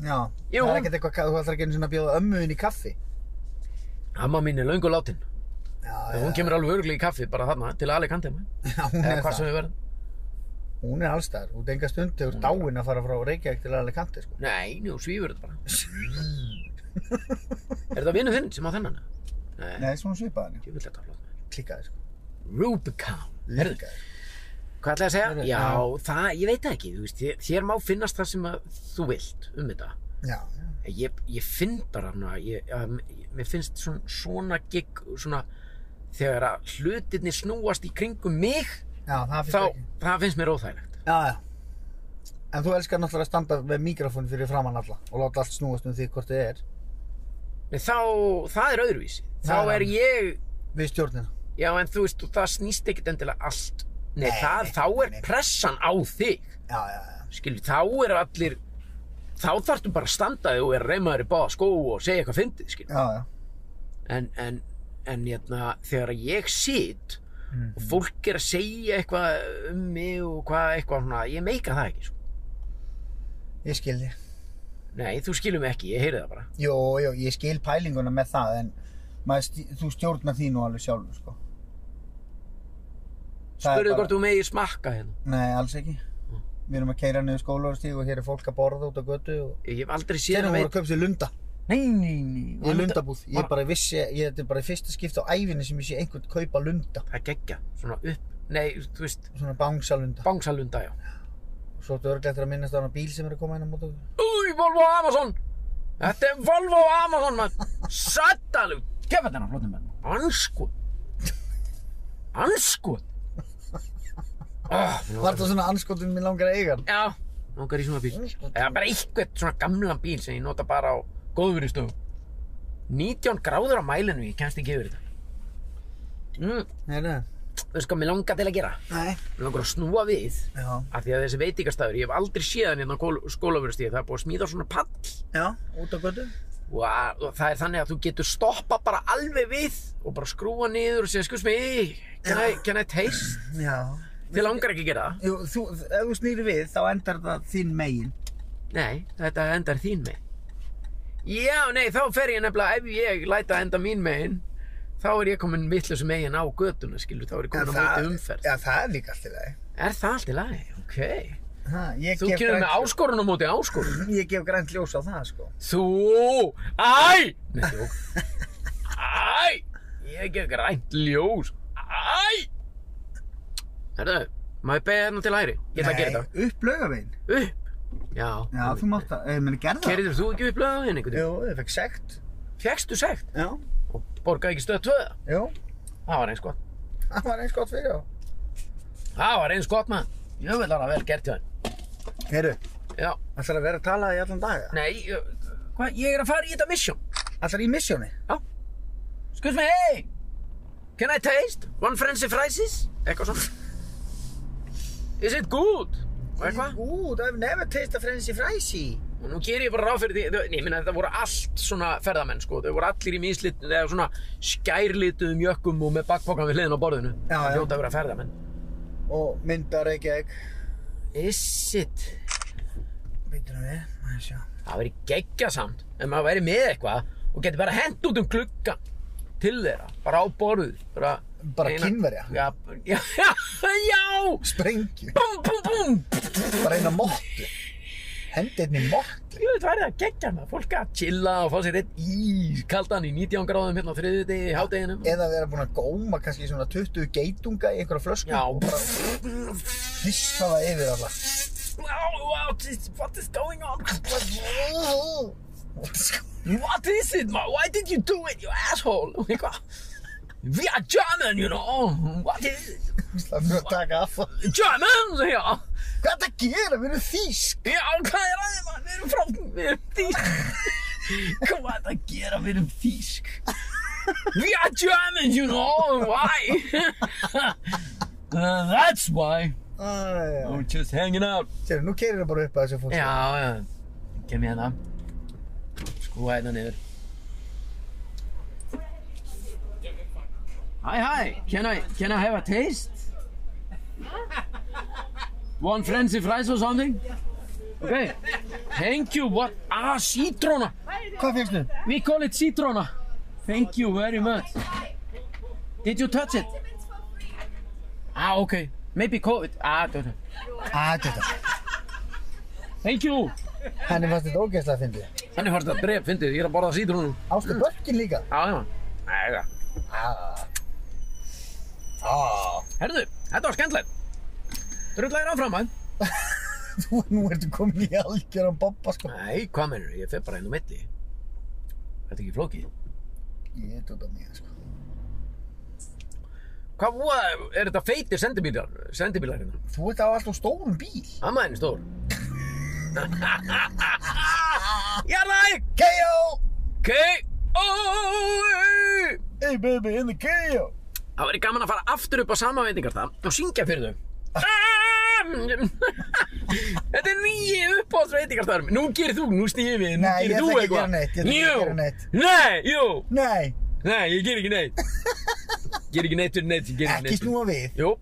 Já. Jú. Það er ekkert eitthvað, þú ætlar ekki einu sinni að bjóða ömmu inn í kaffi? Amma mín er löngu látin. Já, og Hún kemur alveg örglega í kaffi bara þarna til Alicante. maður. *laughs* Já, hún Eða er hvað það. sem við verðum. Hún er allstaðar. Þú dengar stund þegar þú ert dáinn að fara frá Reykjavík til Alicante, sko. Nei, nú svífur þetta bara. er þetta vinnu þinn sem á þennan? Nei, Nei, svona svipaðan, já. ég vil þetta flott. maður. Klikkaði, sko. Rubicon. Herðu, Klikkaði. Hvað ætlaði að segja? Heyrðu, já, já. það, ég veit það ekki, þú veist, þér, þér má finnast það sem að þú vilt um þetta. Já, já. Ég, ég finn bara hana, ég, að, ég- mér finnst svona, svona gig, svona, þegar að hlutirni snúast í kringum mig, Já, það finnst þá, ekki. það finnst mér óþægilegt. Já, já. En þú elskar náttúrulega að standa með mikrofón fyrir framann alla og láta allt snúast um því hvort þið er En þá, það er öðruvísi. Þá Það er er annað. ég, við stjórnina. já, en þú veist, og það snýst ekkert endilega allt. Nei, Nei, það, nei, þá er nei. pressan á þig, Já, já, já. skilju, þá er allir, þá þarftu bara að standa þig og er reymaður í báða skó og segja eitthvað fyndið, skilju. Já, já. en, en, en hérna, þegar ég sit Mhm. og fólk er að segja eitthvað um mig og hvað eitthvað svona, ég meika það ekki sko. Ég skil þig. nei, þú skilur mig ekki, ég heyri það bara Jó, jó, ég skil pælinguna með það en maður, stí- þú stjórnar því nú alveg sjálfur, sko. Það er spurðu bara- hvort Mm. þú megir smakka hérna Nei, alls ekki. Við erum að keira niður skólarstíg og hér er fólk að borða út á götu og... ég hef aldrei séð Þegar að voru að veit köpa sér lunda. nei, nei, nei, Í lundabúð. Ég var- bara vissi, ég, þetta er bara í fyrsta skipti á ævinni sem ég sé einhvern kaupa lunda. það geggja, svona upp, nei, þú veist Svona bangsalunda. bangsalunda, já Svo ertu örglega eftir að minnast á hana bíl sem er að koma inn á mót okkur. új, Volvo Amazon þetta er Volvo Amazon, mann sattalug, Gefa þennan flottum menn. anskot anskot oh, Var það svona anskotum minn langar að eiga hann? Já, langar í svona bíl Eða bara eitthvað svona gamlan bíl sem ég nota bara á góðverðistöðu 19 gráður á mælinu, ég kemst ekki yfir þetta mm, Nei, nei. Veistu hvað mér langar til að gera? Nei. Mér langar að snúa við Já. af því að þessi veitingastafur, ég hef aldrei séð hann hérna á skólaverðustíð, það er búið að smíða svona pall Já, út á götu. og, að, og það er þannig að þú getur stoppa bara alveg við og bara skrúa niður og segja, skus mig, can I, can I taste? Já. Þið langar ekki að gera það? Jú, þú, ef þú snýri við, þá endar það þinn megin. Nei, þetta endar þín megin. Já, nei, þá fer ég nefnilega, ef ég læta enda mín megin, þá er ég komin vittlusum megin á götuna, skilur, þá er ég komin á móti umferð. Já, það er líka allt í lagi. Er það allt í lagi? Ok. Ha, ég Þú gef kemur með grænt- áskorun á móti áskorun. Ég gef grænt ljós á það, sko. Þú, æ! Nei, jók. Æ! Ég gef grænt ljós. Æ! Herðu, má ég beða hérna til hæri? Ég ætla að gera þetta. Nei, upp laugavegin. Upp! Já. Já, þú mátt að, ég meni, gerð það. Gerður þú ekki upp lögðin einhvern veginn? Jú, ég fekk sekt. Fjækstu sekt Já. og borgaði ekki stöð tvöða? Jú, Það var eins gott. það var eins gott fyrir á. Það var eins gott maður. Ég vil hana vel gert hjá henn. Heyrðu, Já. ætlar að vera að tala í allan daga? Nei, ég- hvað, ég er að fara í þetta mission. Ætlar í missjóni? Excuse me, hey! Can I taste one French fries? Eitthvað svona. Is it good? Og eitthvað. Ú, það hefur never taste of frenzy fræsi. Og nú ger ég bara ráð fyrir því, þau- nei, ég minna þetta voru allt svona ferðamenn sko, þau voru allir í mislitun eða svona skærlituðum jökkum og með bakpokan við hliðin á borðinu. Já, já. Hljóta að vera ferðamenn. Og myndar ekki ekki. Is it? Býtur hann við, maður sjá. Það væri geggja samt en maður væri með eitthvað og getur bara hent út um gluggan til þeirra, bara á borðið bara, Bara Kínverja? já, *laughs* já, já, já Sprengju. bum, bum, bum Bara eina mottu. Hendi einni mottu. Jú, þetta væri það geggja maður, fólk að chilla og fá sér eitt í kaldan í 19 gráðum hérna á þriðið degi, hádeginum Eða vera búin að góma kannski svona 20 geitunga í einhverja flösku. Já. Og bara fyrsta það yfir alla. wow, wow, geez, what is going on what is it man, why did you do it you asshole *laughs* Eitthvað. we are German you know what is it Það fyrir að taka af það. German, segja ég. Hvað er þetta að gera? Við erum þýsk. Já, hvað er aðeins maður? *laughs* Við erum frá, við erum þýsk. Hvað er þetta að gera? Við erum þýsk. We are Germans, you know, why? *laughs* uh, that's why. Æ, já. We're just hanging out. Sér, nú keirir það bara upp að þessu Mm. fólk. Já, já, kem ég hérna. Skrúa hérna niður. Hi, hi, can I, can I have a taste? One frenzy fries or something? Okay, thank you, what, ah, citrona. Hvað finnst þið? We call it citrona. Thank you very much. Did you touch it? Ah, okay. Maybe COVID. Ah, don't know. Æ, þetta. Thank you. Henni fannst þetta ógeðslega að fyndið. Þannig fannst þetta bref, fyndið, ég er að borða citrónu. Ástu börkin líka. Já, já. Æja. Herðu, þetta var skemmtilegt. Drullæðir áfram, að? Þú, nú ertu komin í algjöran bobba, sko. Nei, hvað mennur, ég fer bara inn á milli. Þetta er ekki flókið. Ég er tóta mér, sko. Hvað voða, er þetta feitir sendibílar, sendibílar hérna? Þú ert á alltaf stórum bíl. Amma henni stór. *laughs* Jarðæk! K.O. K.O. Hey baby, in the K.O. Það væri gaman að fara aftur upp á sama veitingar það og syngja fyrir þau. *laughs* Þetta er nýju uppáhalds veitingarstaðar Nú gerir þú, nú snýðir við, nú Nei, ég gerir þú ætla ekki að eitthvað gera neitt, ég ætla ekki að Jú. gera neitt. Nei, jú, Nei, nei, ég ger ekki *laughs* neitt Ger ekki neitt fyrir neitt, ég ger ekki ekki neitt snúa við. Jú,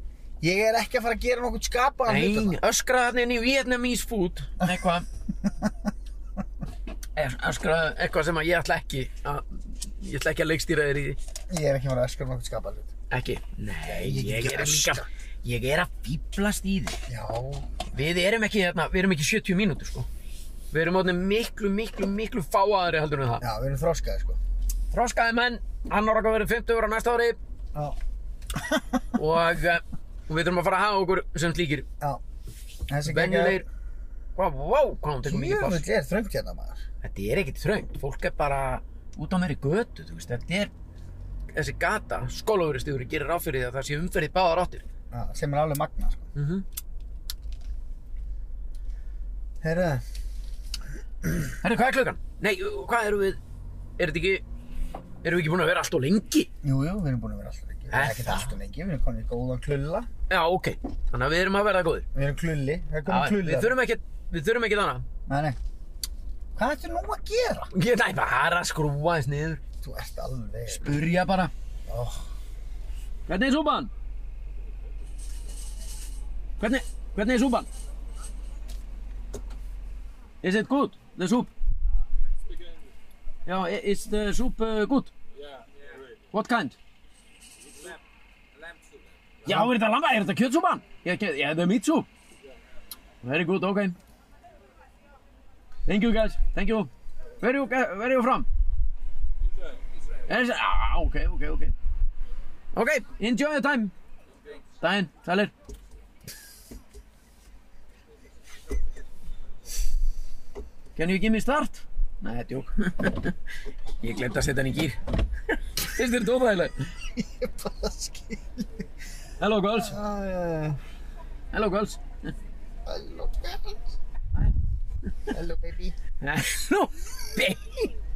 Ég er ekki að fara að gera nokkuð skapaðan hlut nei, þarna. öskraði þarna inn í Vietnamese food *laughs* Eitthvað Es- Öskraði eitthvað sem að ég ætla ekki að Ég ætla ekki að leikstýra þér í því Ég er ekki að fara að öskra nokkuð skapaðan hlut. Ekki, nei, Ég get ég er ekki líka öskrað. Ég er að fýblast í því Já, Við erum ekki, hérna, við erum ekki 70 mínútur sko Við erum orðin miklu, miklu, miklu fáaðri heldur en það já, við erum þroskaði, sko. Þroskaði menn, hann ára að vera 50 ára næsta ári Já, og eh, og við þurfum að fara að hafa okkur sem slíkir já. Þessi venjulegir Vá, vá, hvað hún tekur mikið pláss Jöfull er þröngt hérna, maður. Þetta er ekkert þröngt, fólk er bara út á meiri götu, þú veist, þetta er þessi gata, skólauguristigur gerir ráð fyrir því að það sé umferðið báðar áttir Já, sem er alveg magna, sko. mm -hmm. Herra, Herri, hvað er klukkan? Nei, uh, hvað erum við, er þetta ekki erum við ekki búin að vera allt og lengi? jú, jú, við erum búin að vera alltaf lengi. Við Er erum ekkert það? alltaf lengi, við erum komin í góðan klulla. Já, ok, þannig að við erum að vera góðir Við erum klulli, við erum Já, komin klulli. Við þurfum ekkert, við þurfum ekkert annað Nei, nei. Hvað ertu nú að gera? Ég næ bara að skrúa þess niður Þú ert alveg... Burja bara Oh. Hvernig er súpan? Hvernig, hvernig er súpan? Is it good, the soup? Já, i- is the soup uh, good? What kind? Já, er þetta lamba, er þetta kjötsúpan? Já, kjö- já, þetta er meat soup Very good, ok Thank you guys, thank you Where you, where you from? Israel Ah, ok, ok, ok Ok, enjoy the time Daginn, sælir Can you give me start? Nei, þetta er jók *laughs* Ég glemt að setja hann í gýr Fyrst er þetta óþægileg Ég bara skil. Hello girls, Uh, hello girls hello, guys. Hello, baby. Hello, babe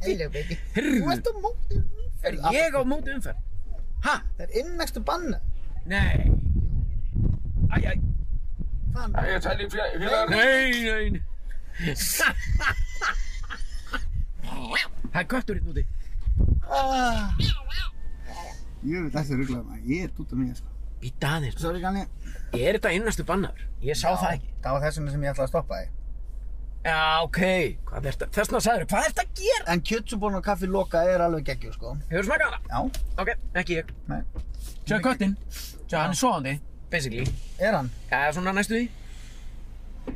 Hello, baby. Heyrðu. Þú ert á móti Er umferð. ég á móti umferð? Ha? Það er innægstu banna. Nei Æ, æ Fann. Ég tæli félagar Nei, nei, nei Það er kötturinn úti Ah. Ég veit alltaf rugglaði maður. Ég er út af mér, sko. Býta aðeins Sorry, Ganni. Er þetta innastu bannaður? Ég sá það ekki. Það var þessum sem ég ætlaði að stoppa þig. Já, ok. Hvað er þetta? Þessna sagður, hvað er þetta að gera? En kjötsúbón og kaffi loka er alveg geggjur, sko. Hefur smakað hana? Já. Ok, ekki ég. Nei. Sjá köttin. Sjá, hann er svoðandi, basically. Er hann? Já, svona næstu því.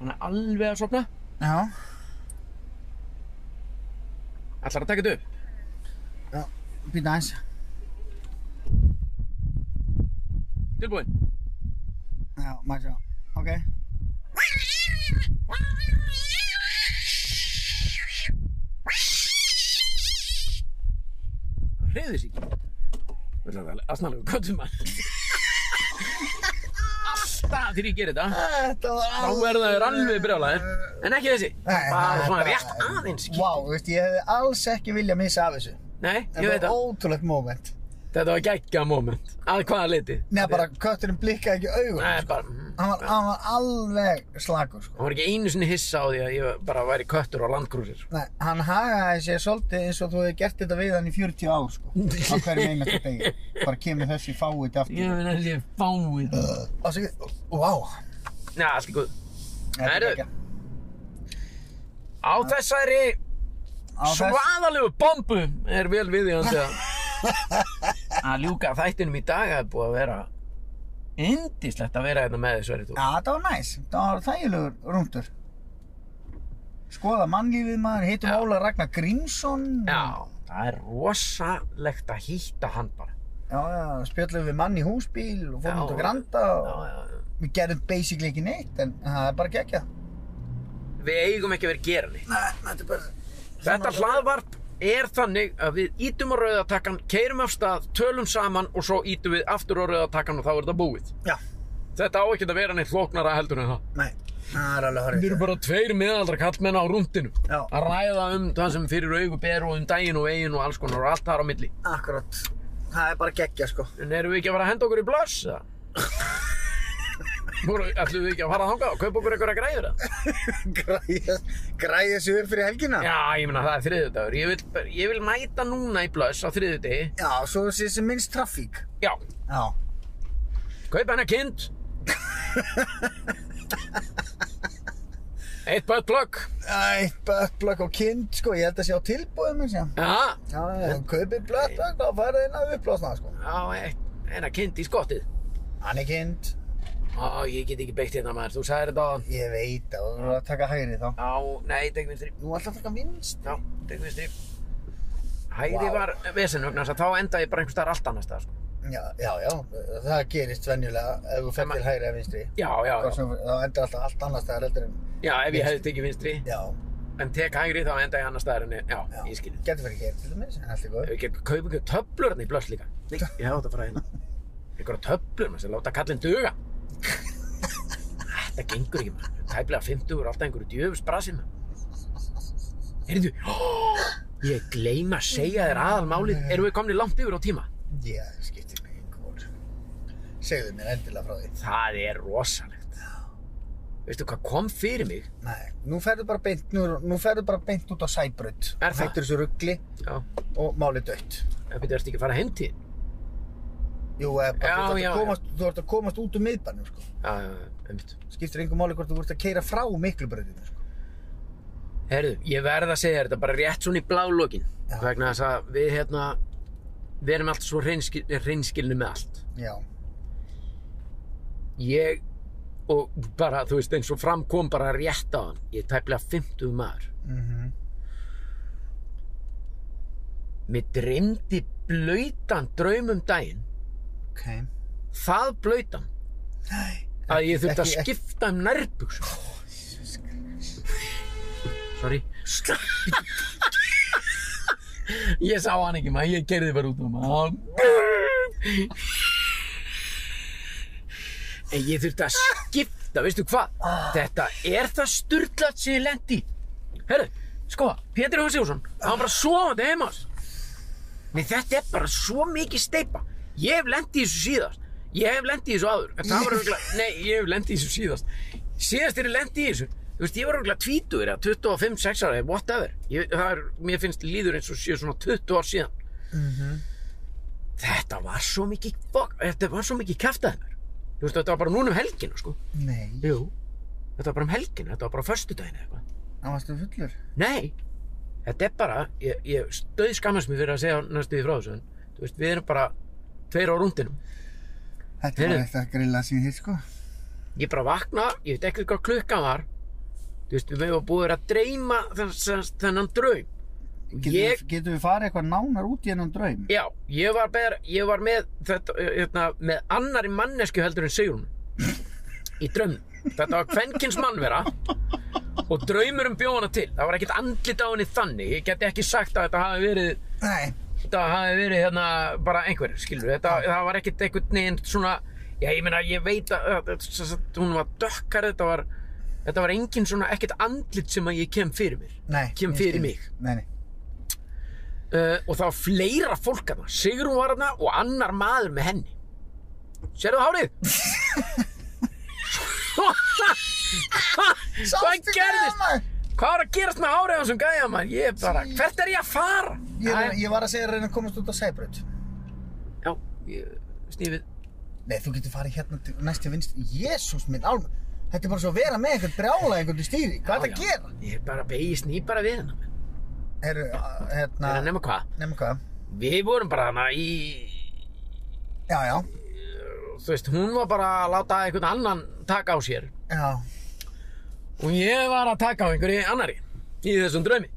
Hann er alveg að sopna. Já. Ætlar að taka þetta upp. Já. Býta aðeins. Tilbúin. Já, maður sjá. Ok. Hreyði sig ekki. Það er alveg aðsnalegu um köttum hann. Alltaf þegar ég gerir þetta, Þetta var þá verða þeir alveg brjálaðir. En ekki þessi. Nei, Bara svona þetta- rétt aðeins. Vá, þú veist, ég hefði alls ekki viljað missa af þessu. Nei, ég Þetta veit var það. ótrúlegt moment. Þetta var geggja moment. Að hvaða leiti? Nei, bara kötturinn blikkaði ekki augun. Nei, bara, mm, Hann var, hann var alveg slagur, sko. hann var ekki einu sinni hissa á því að ég bara væri köttur á landgrúsir. Nei, hann hagaði sér svolítið eins og þú hefði gert þetta við hann í 40 ár, sko. Á hverjum einasta degi. Bara kemur þessi fáið aftur. Ég meina þessi fáið. Og svo, wow. Nei, allt í góð. Þetta er Herru. ekki- Á þessari á þess- svaðalegu bombu er vel viðjandi að að ljúka þættinum í dag að búið að vera indislegt að vera hérna með þessu verið þú. Já, þetta var næs. Þetta var þægilegur rúndur. Skoða mannlífið maður, hittum Óla Ragnar Grímsson. Já, það er rosalegt að hýtta hann bara. Já, já, spjöllum við mann í húsbíl og fórum Já. út á Granda og Já, já, já. við gerðum basically ekki neitt, en það er bara gegja. Við eigum ekki að vera að gera neitt. Nei, þetta er bara... Þetta hlaðvarp er þannig að við ítum á rauðatakkan, keirum af stað, tölum saman og svo ítum við aftur á rauðatakkan og þá er þetta búið. Já, Þetta á ekki að vera neitt flóknara heldur en það. nei, það er alveg Við horrið. erum bara tveir miðaldra kallmenn á rúndinu Já. að ræða um það sem fyrir augu ber og um daginn og veginn og alls konar og allt þar á milli. Akkurat. Það er bara gegja, sko. *laughs* En erum við ekki að fara að henda okkur í blöss eða? Nú erum- ætlum við ekki að fara að þanga og kaupa okkur einhverja græður eða? Græja, græja sig upp fyrir helgina. Já, ég meina það er þriðjudagur. Ég vil, ég vil mæta núna í blöss á þriðjudegi. Já, svo sé sem minnst trafík. Já, Já. kaupa hennar kind. Eitt bött plögg. Æ, Buttplug og kind, sko, ég held að sé á tilbúðum eins og. Já, Já, já, kaupið Buttplug og farið inn að upplásna, sko. já, eitt, hennar kind í skottið. Hann er kind, Á, ég get ekki beitt hérna maður, þú sagðir þetta á hann. ég veit að þú eru að taka hægri þá. Á, nei, tegum við þrjum. Nú alltaf taka vinst. Já, tegum við stið. Hægri var vesen vegna þess að þá enda ég bara einhvers staðar allt annars staðar. Sko. Já, já, já, það gerist venjulega ef þú fer Sem að- til hægri eða vinstri. Já, já, Hvort já. sem- Þá endur alltaf allt annars staðar heldur en, Já, ef ég hefði tekið vinstri, já, en tek hægri þá enda ég annars staðar en ég, já, já. ég skilji. Getur verið hér til dæmis, en allt er góð. Ef ég ekki kaupa einhverju töflur hérna í blöss líka. Nei, ég hef átt að fara hérna. Einhverja töflur, maður sem láta kallinn duga. Þetta gengur ekki, maður. Tæplega 50 er alltaf einhverju djöfus brasið, maður. Heyrðu, *gasps* ég gleym að segja þér aðalmálið. Erum við komni langt yfir á tíma? Já, það skiptir mig einhver. Segðu mér endilega frá því. Það er rosalegt. Veistu hvað kom fyrir mig? Nei, nú ferðu bara beint, nú, nú ferðu bara beint út á sæbraut. Er það? Hættur þessu ruggli Já. og máli dött. Það byrjaði ekki að fara heim til. Jú, eða bara, Já, þú, ert já, að já. komast, þú ert að komast út um miðbænum, sko. Já, já, já, einmitt. Skiptir einhver máli hvort þú ert að keira frá miklubrautinu, sko. Herðu, ég verð að segja þér þetta bara rétt svona í blálókin. Já. Vegna þess að við hérna, við erum allt svo hreinskil, hreinskilni með allt. Já, Ég, og bara, þú veist, eins og fram kom bara rétt á hann. Ég er tæplega 50 maður. mhm, Mér dreymdi blöytan draum um daginn. ok. Það blöytan. Að ég þurfti að ekki- ekki- skipta um nærbuksum. *laughs* Sorry. Ég sá hann ekki maður, ég gerði bara út um hann. En ég þurfti að skipta, veistu hvað? Ah. Þetta er það sturglað sem ég lendi í. Herru, sko, Pétur Jóhann Sigurðsson, hann var bara sofandi heima hans. Nei, þetta er bara svo mikið steipa. Ég hef lendi í þessu síðast. Ég hef lendi í þessu áður. En það var örgulega, nei, ég hef lendi í þessu síðast. Síðast er ég lendi í þessu. Þú veist, ég var örgulega 20 eða 25, 6 ára, eða whatever. Ég, það er, mér finnst líður eins og séu svona 20 ár síðan. Mhm. Þetta var svo mikið, fuck, þetta var svo mikið kæftað mér. Þú veist, þetta var bara núna um helginu, sko. Nei, Jú. Þetta var bara um helginu, þetta var bara á föstudaginn eða eitthvað. það varstu fullur. Nei, þetta er bara, ég, ég stöð skammast mér fyrir að segja næstu því frá þessu, en þú veist, við erum bara tveir á rúndinum. Þetta Heyrðu. var eftir að grilla sín hér, sko. Ég bara vakna, ég veit ekkert hvað klukkan var, þú veist, við hefum búið að dreyma þennan, þennan draum. Getum, Ég, við, getum við farið eitthvað nánar út í hennan draum? já, ég var, ber, ég var með, þetta, hérna, með annari mannesku heldur en Sigrun í draumnum. Þetta var kvenkins mannvera og draumurum bjóðana til. Það var ekkert andlit á henni þannig. Ég geti ekki sagt að þetta hafi verið Nei, þetta hafi verið hérna bara einhver, skilur, þetta, það var ekkert einhvern veginn svona, já ég meina ég veit að, að, að, að, að hún var dökkar þetta var, þetta var engin svona ekkert andlit sem að ég kem fyrir mér nei. kem ég fyrir skil. mig. Nei, nei. uh, og það var fleira fólk hana Sigrun var hana og annar maður með henni Sérðu hárið? Hvað Sástu gerðist? maður? Hvað var að gerast með hárið á þessum gæja maður? Ég er bara, hvert er ég að fara? Ég, er- Æ, ég var að segja að reyna að komast út á Sæbraut. Já, ég, snífið Nei, þú getur farið hérna til- næst til vinst. Jésús minn, alveg. Þetta er bara svo að vera með eitthvað brjála eitthvað í stýri. Hvað Já, er þetta að já. gera? Ég er bara, ég sný bara við hana Er Herru, a- það hérna, nema hvað? nema hvað? Við vorum bara hana í, Já, já, þú veist, hún var bara að láta einhvern annan taka á sér já. og ég var að taka á einhverju annari í þessum draumi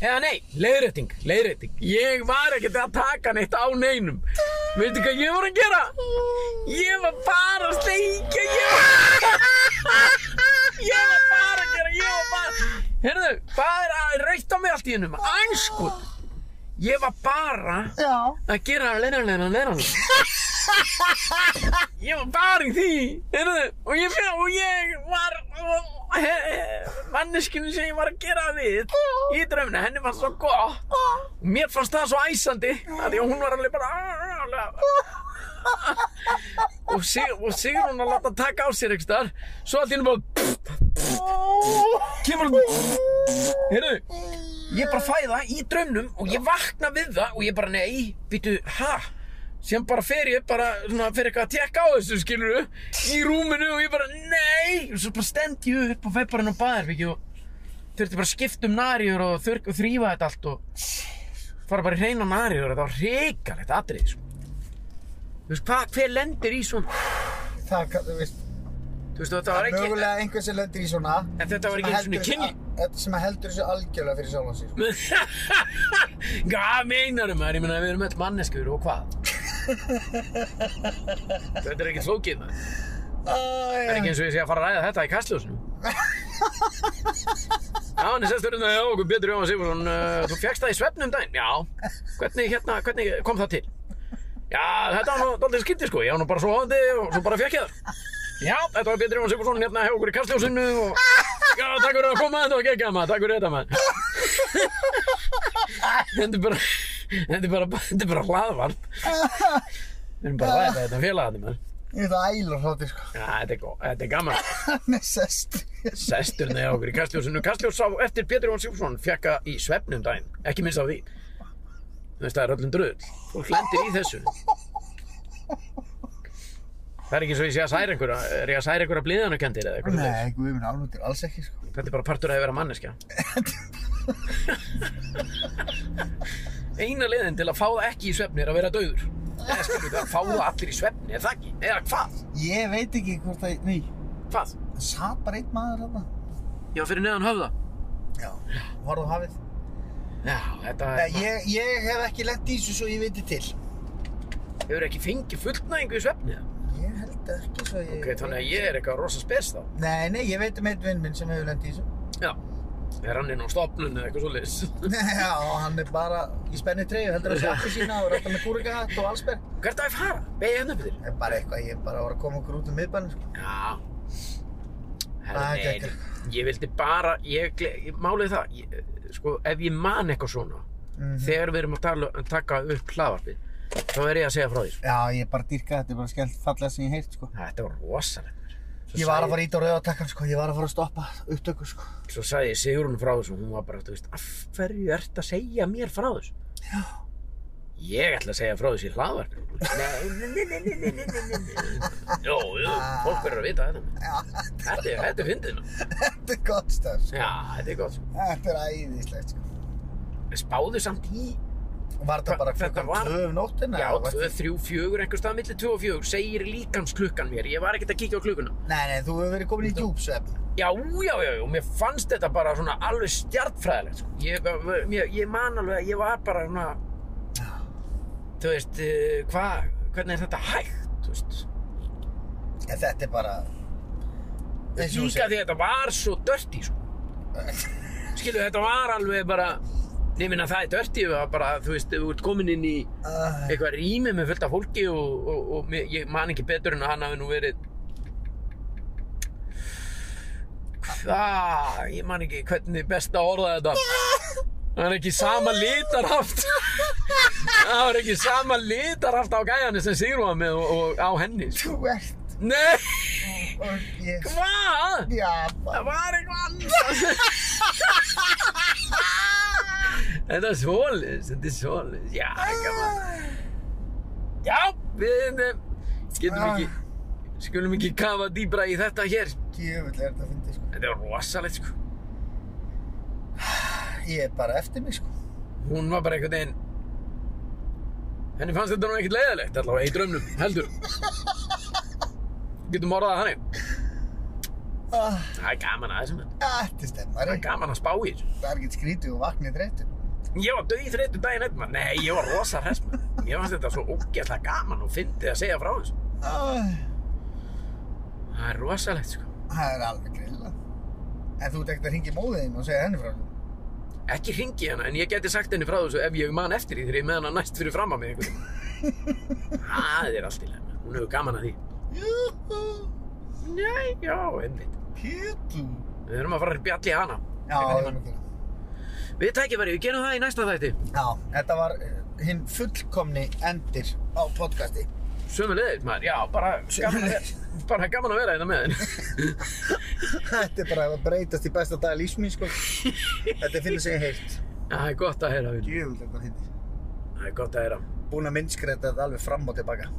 eða nei, leiðrétting, leiðrétting ég var ekkert að taka neitt á neinum veitu hvað ég var að gera ég var bara að sleikja ég var ég var bara að gera ég var bara herðu, hvað er að reyta mig allt í hennum anskot ég var bara Já. að gera leina, leina, leina, leina. ég var bara í því heyrðu, og ég, og ég var og- he- manneskinu sem ég var að gera við í drauminu, henni var svo gott og mér fannst það svo æsandi af því að hún var alveg bara og, sig, og Sigrún að láta taka á sér ekki þar svo allt í henni bara kemur heyrðu ég bara fæ það í draumnum og ég vakna við það og ég bara nei, býtu, ha sem bara fer ég bara, svona, fer eitthvað að tekka á þessu skiluru í rúminu og ég bara nei, og svo bara stend ég upp og fer bara inn á baðherbyggju og þurfti bara að skipta um nariður og, þurr, og þrýfa þetta allt og fara bara í hreina nariður þetta var hrikalegt atrið sko. þú veist hvað, hver lendir í svona Það, ka- þú veist, þú veist þetta var ekki mögulega einhver sem lendir í svona. en þetta var ekki eins og kynni Þetta sem að heldur þessu algjörlega fyrir sjálfan sér. sko. Hvað meinarum maður? Ég meina við erum öll manneskur og hvað? þetta er ekki flókið maður. Það er ekki eins og ég sé að fara að ræða þetta í kastljósinu. Já, en ég sest þurfum það, já, okkur betur Jóhann Sigurðsson, uh, þú fegst það í svefnum daginn? Já. Hvernig, hérna, hvernig kom það til? Já, þetta var nú daldið skytti sko, ég var nú bara svoandi og svo bara fekk ég það. Já, þetta var Pétur Jóhann Sigurðsson hérna hjá okkur í kastljósinu og já, takk fyrir að koma, þetta var geggjað maður, takk fyrir þetta maður. Þetta er bara Þetta er bara, þetta er bara hlaðvarp Við erum bara að ræða þetta félagarnir maður Ég veit að æla hlátir, sko. *laughs* Já, þetta er, gó- þetta er gaman Með sest. Sestur neða okkur í Kastljósinu Kastljós sá eftir Pétur Jón Sigurðsson Fjekka í svefnum daginn, ekki minnst á því Þú veist, það er öllum dröðl Fólk lendir í þessu Það er ekki svo ég sé að særa einhverja Er ég að særa einhverja blíðanukendir eða eitthvað svoleiðis? Nei, guð minn álútur, alls ekki, sko. Þetta er bara partur af að vera manneskja Eina leiðin til að fá það ekki í svefni er að vera dauður Eða skilur þetta að fá það allir í svefni, er það ekki? Eða hvað? Ég veit ekki hvort það, nei. Hvað? Það sat bara einn maður hérna. Já, fyrir neðan höfða Já. Horfðu á hafið. Já, þetta Nei, ég, ég hef ekki lent í þessu svo ég viti til. hefur ekki fengið fullnæðingu í svefni eða? Ég held ekki svo ég... Ok, þannig að ég er eitthvað rosa spes þá Nei, nei, ég veit um einn vinn minn sem hefur lent í þessu. *laughs* Já, er hann inn á stofnun eða eitthvað svo Já, og hann er bara í spenni treyju, heldur að sjokku sína og rættar með kúrikahatt og allsberg. *laughs* Hvert að ég hérna fara? Begið henni fyrir Það er bara eitthvað, ég er bara að voru að koma okkur út um miðbænum, sko. Já Það Herri, gekk nei, ég vildi bara ég, gle- ég málið það ég, sko, ef ég man eitthvað svona þegar við erum að tala, taka upp hlaðvarpið þá er ég að segja frá því sko. Já, ég er bara dýrkað, þetta er bara skemmt fallega sem ég heilt, sko. þetta var rosalegt maður. Svo Ég var sagði- að fara ít á rauðatakkan, sko, ég var að fara að stoppa upptöku, sko. *laughs* svo sagði ég Sigrun frá þessu og hún var bara, þú veist, af hverju ert að segja mér frá þessu já ég ætla að segja frá þessu í hlaðvarpið nei, nei, nei, nei, nei, nei, nei, nei, nei jó, jú, fólk verður að vita þetta Já, þetta er, þetta er fyndið nú. þetta er gott stöð, sko. já, þetta er gott sko. Þetta er æðislegt, sko. spáðu samt í Var Hva- þetta bara þetta klukkan var- tvö um nóttina? Já, eða var- 2, 3, 4, einhver stað millir 2 og 4 segir líkamsklukkan mér, ég var ekkert að kíkja á klukkuna Nei, nei, þú hefur verið komin í djúpsvefn. Já, já, já, já, mér fannst þetta bara svona alveg stjartfræðilegt sko. ég, ég, ég man alveg að ég var bara svona þú veist, eh, hvað hvernig er þetta hægt, þú veist En þetta er bara... eins og þú líka segir. því að þetta var svo dörti sko. *laughs* skilu, þetta var alveg bara ég minna það er dörti bara, þú veist, ef þú ert komin inn í Ah, eitthvað rými með fullt af fólki og, og, og mér- ég man ekki betur en að hann hafi nú verið Ah, Hvað, ég man ekki hvernig best að orða þetta Það er ekki sama litarhaft Það er ekki sama litarhaft á gæjani sem Sigrún var með og, og á henni sko. Þú ert Nei, og ég hvað? Já, bara Það var eitthvað annað Þetta er svoleiðis, þetta er svoleiðis Já, gaman Já, við eh, getum Ah, ekki skulum ekki kafa dýbra í þetta hér Djöfull er þetta að fyndi sko Þetta er rosalegt sko Ég er bara eftir mig sko Hún var bara einhvern veginn Henni fannst þetta nú ekkert leiðilegt allavega í draumnum, heldur Getum orðað það þannig Ah, Það er gaman aðeins maður. Þetta er Það stemmari er gaman að spá í þessu Það er ekkert skrítið og vaknið þreytur Ég var döið þreytu daginn eftir maður Nei, ég var rosa hress maður Ég fannst þetta svo ógeðslega gaman og fyndið að segja frá þessu Ah, Það er rosalegt sko Það er alveg grilla En þú ert ekkert að hringja móðin og segja henni frá henni Ekki hringi hana en ég geti sagt henni frá þessu ef ég man eftir því þegar ég er með hana næst fyrir fram að mig einhvern veginn Það er allt í lefna Hún hefur gaman að því Júhú, Nei, já, einmitt kýttu Við erum að fara að bjalli hana Já, það er mikilvægt Við tækifæri, við gerum það í næsta þætti Já, þetta var eh, hinn fullkomni endir á podcasti. Sömu leiðis maður, já, bara gaman *laughs* að, bara gaman að vera hérna með henn Þetta er bara að breytast í besta dag lífsmín, sko. Þetta finnir sig heilt. Það er gott að heyra, Vil Jöfnveld þetta hindi. Það er gott að heyra Búin að minnskreita þetta alveg fram og tilbaka.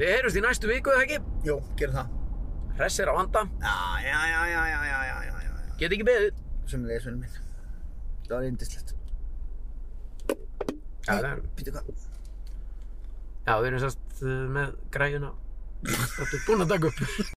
Við heyrumst í næstu viku, eða ekki? Jú, gerum það. Hress er á handa, Já, já, já, já, já, já, já, já, já. get ekki beðið Sem leiðis vinnum minn. Það var yndislegt. Já, það er, Býtu hvað? eh, já við erum sérst með græjuna Þetta er búin að taka upp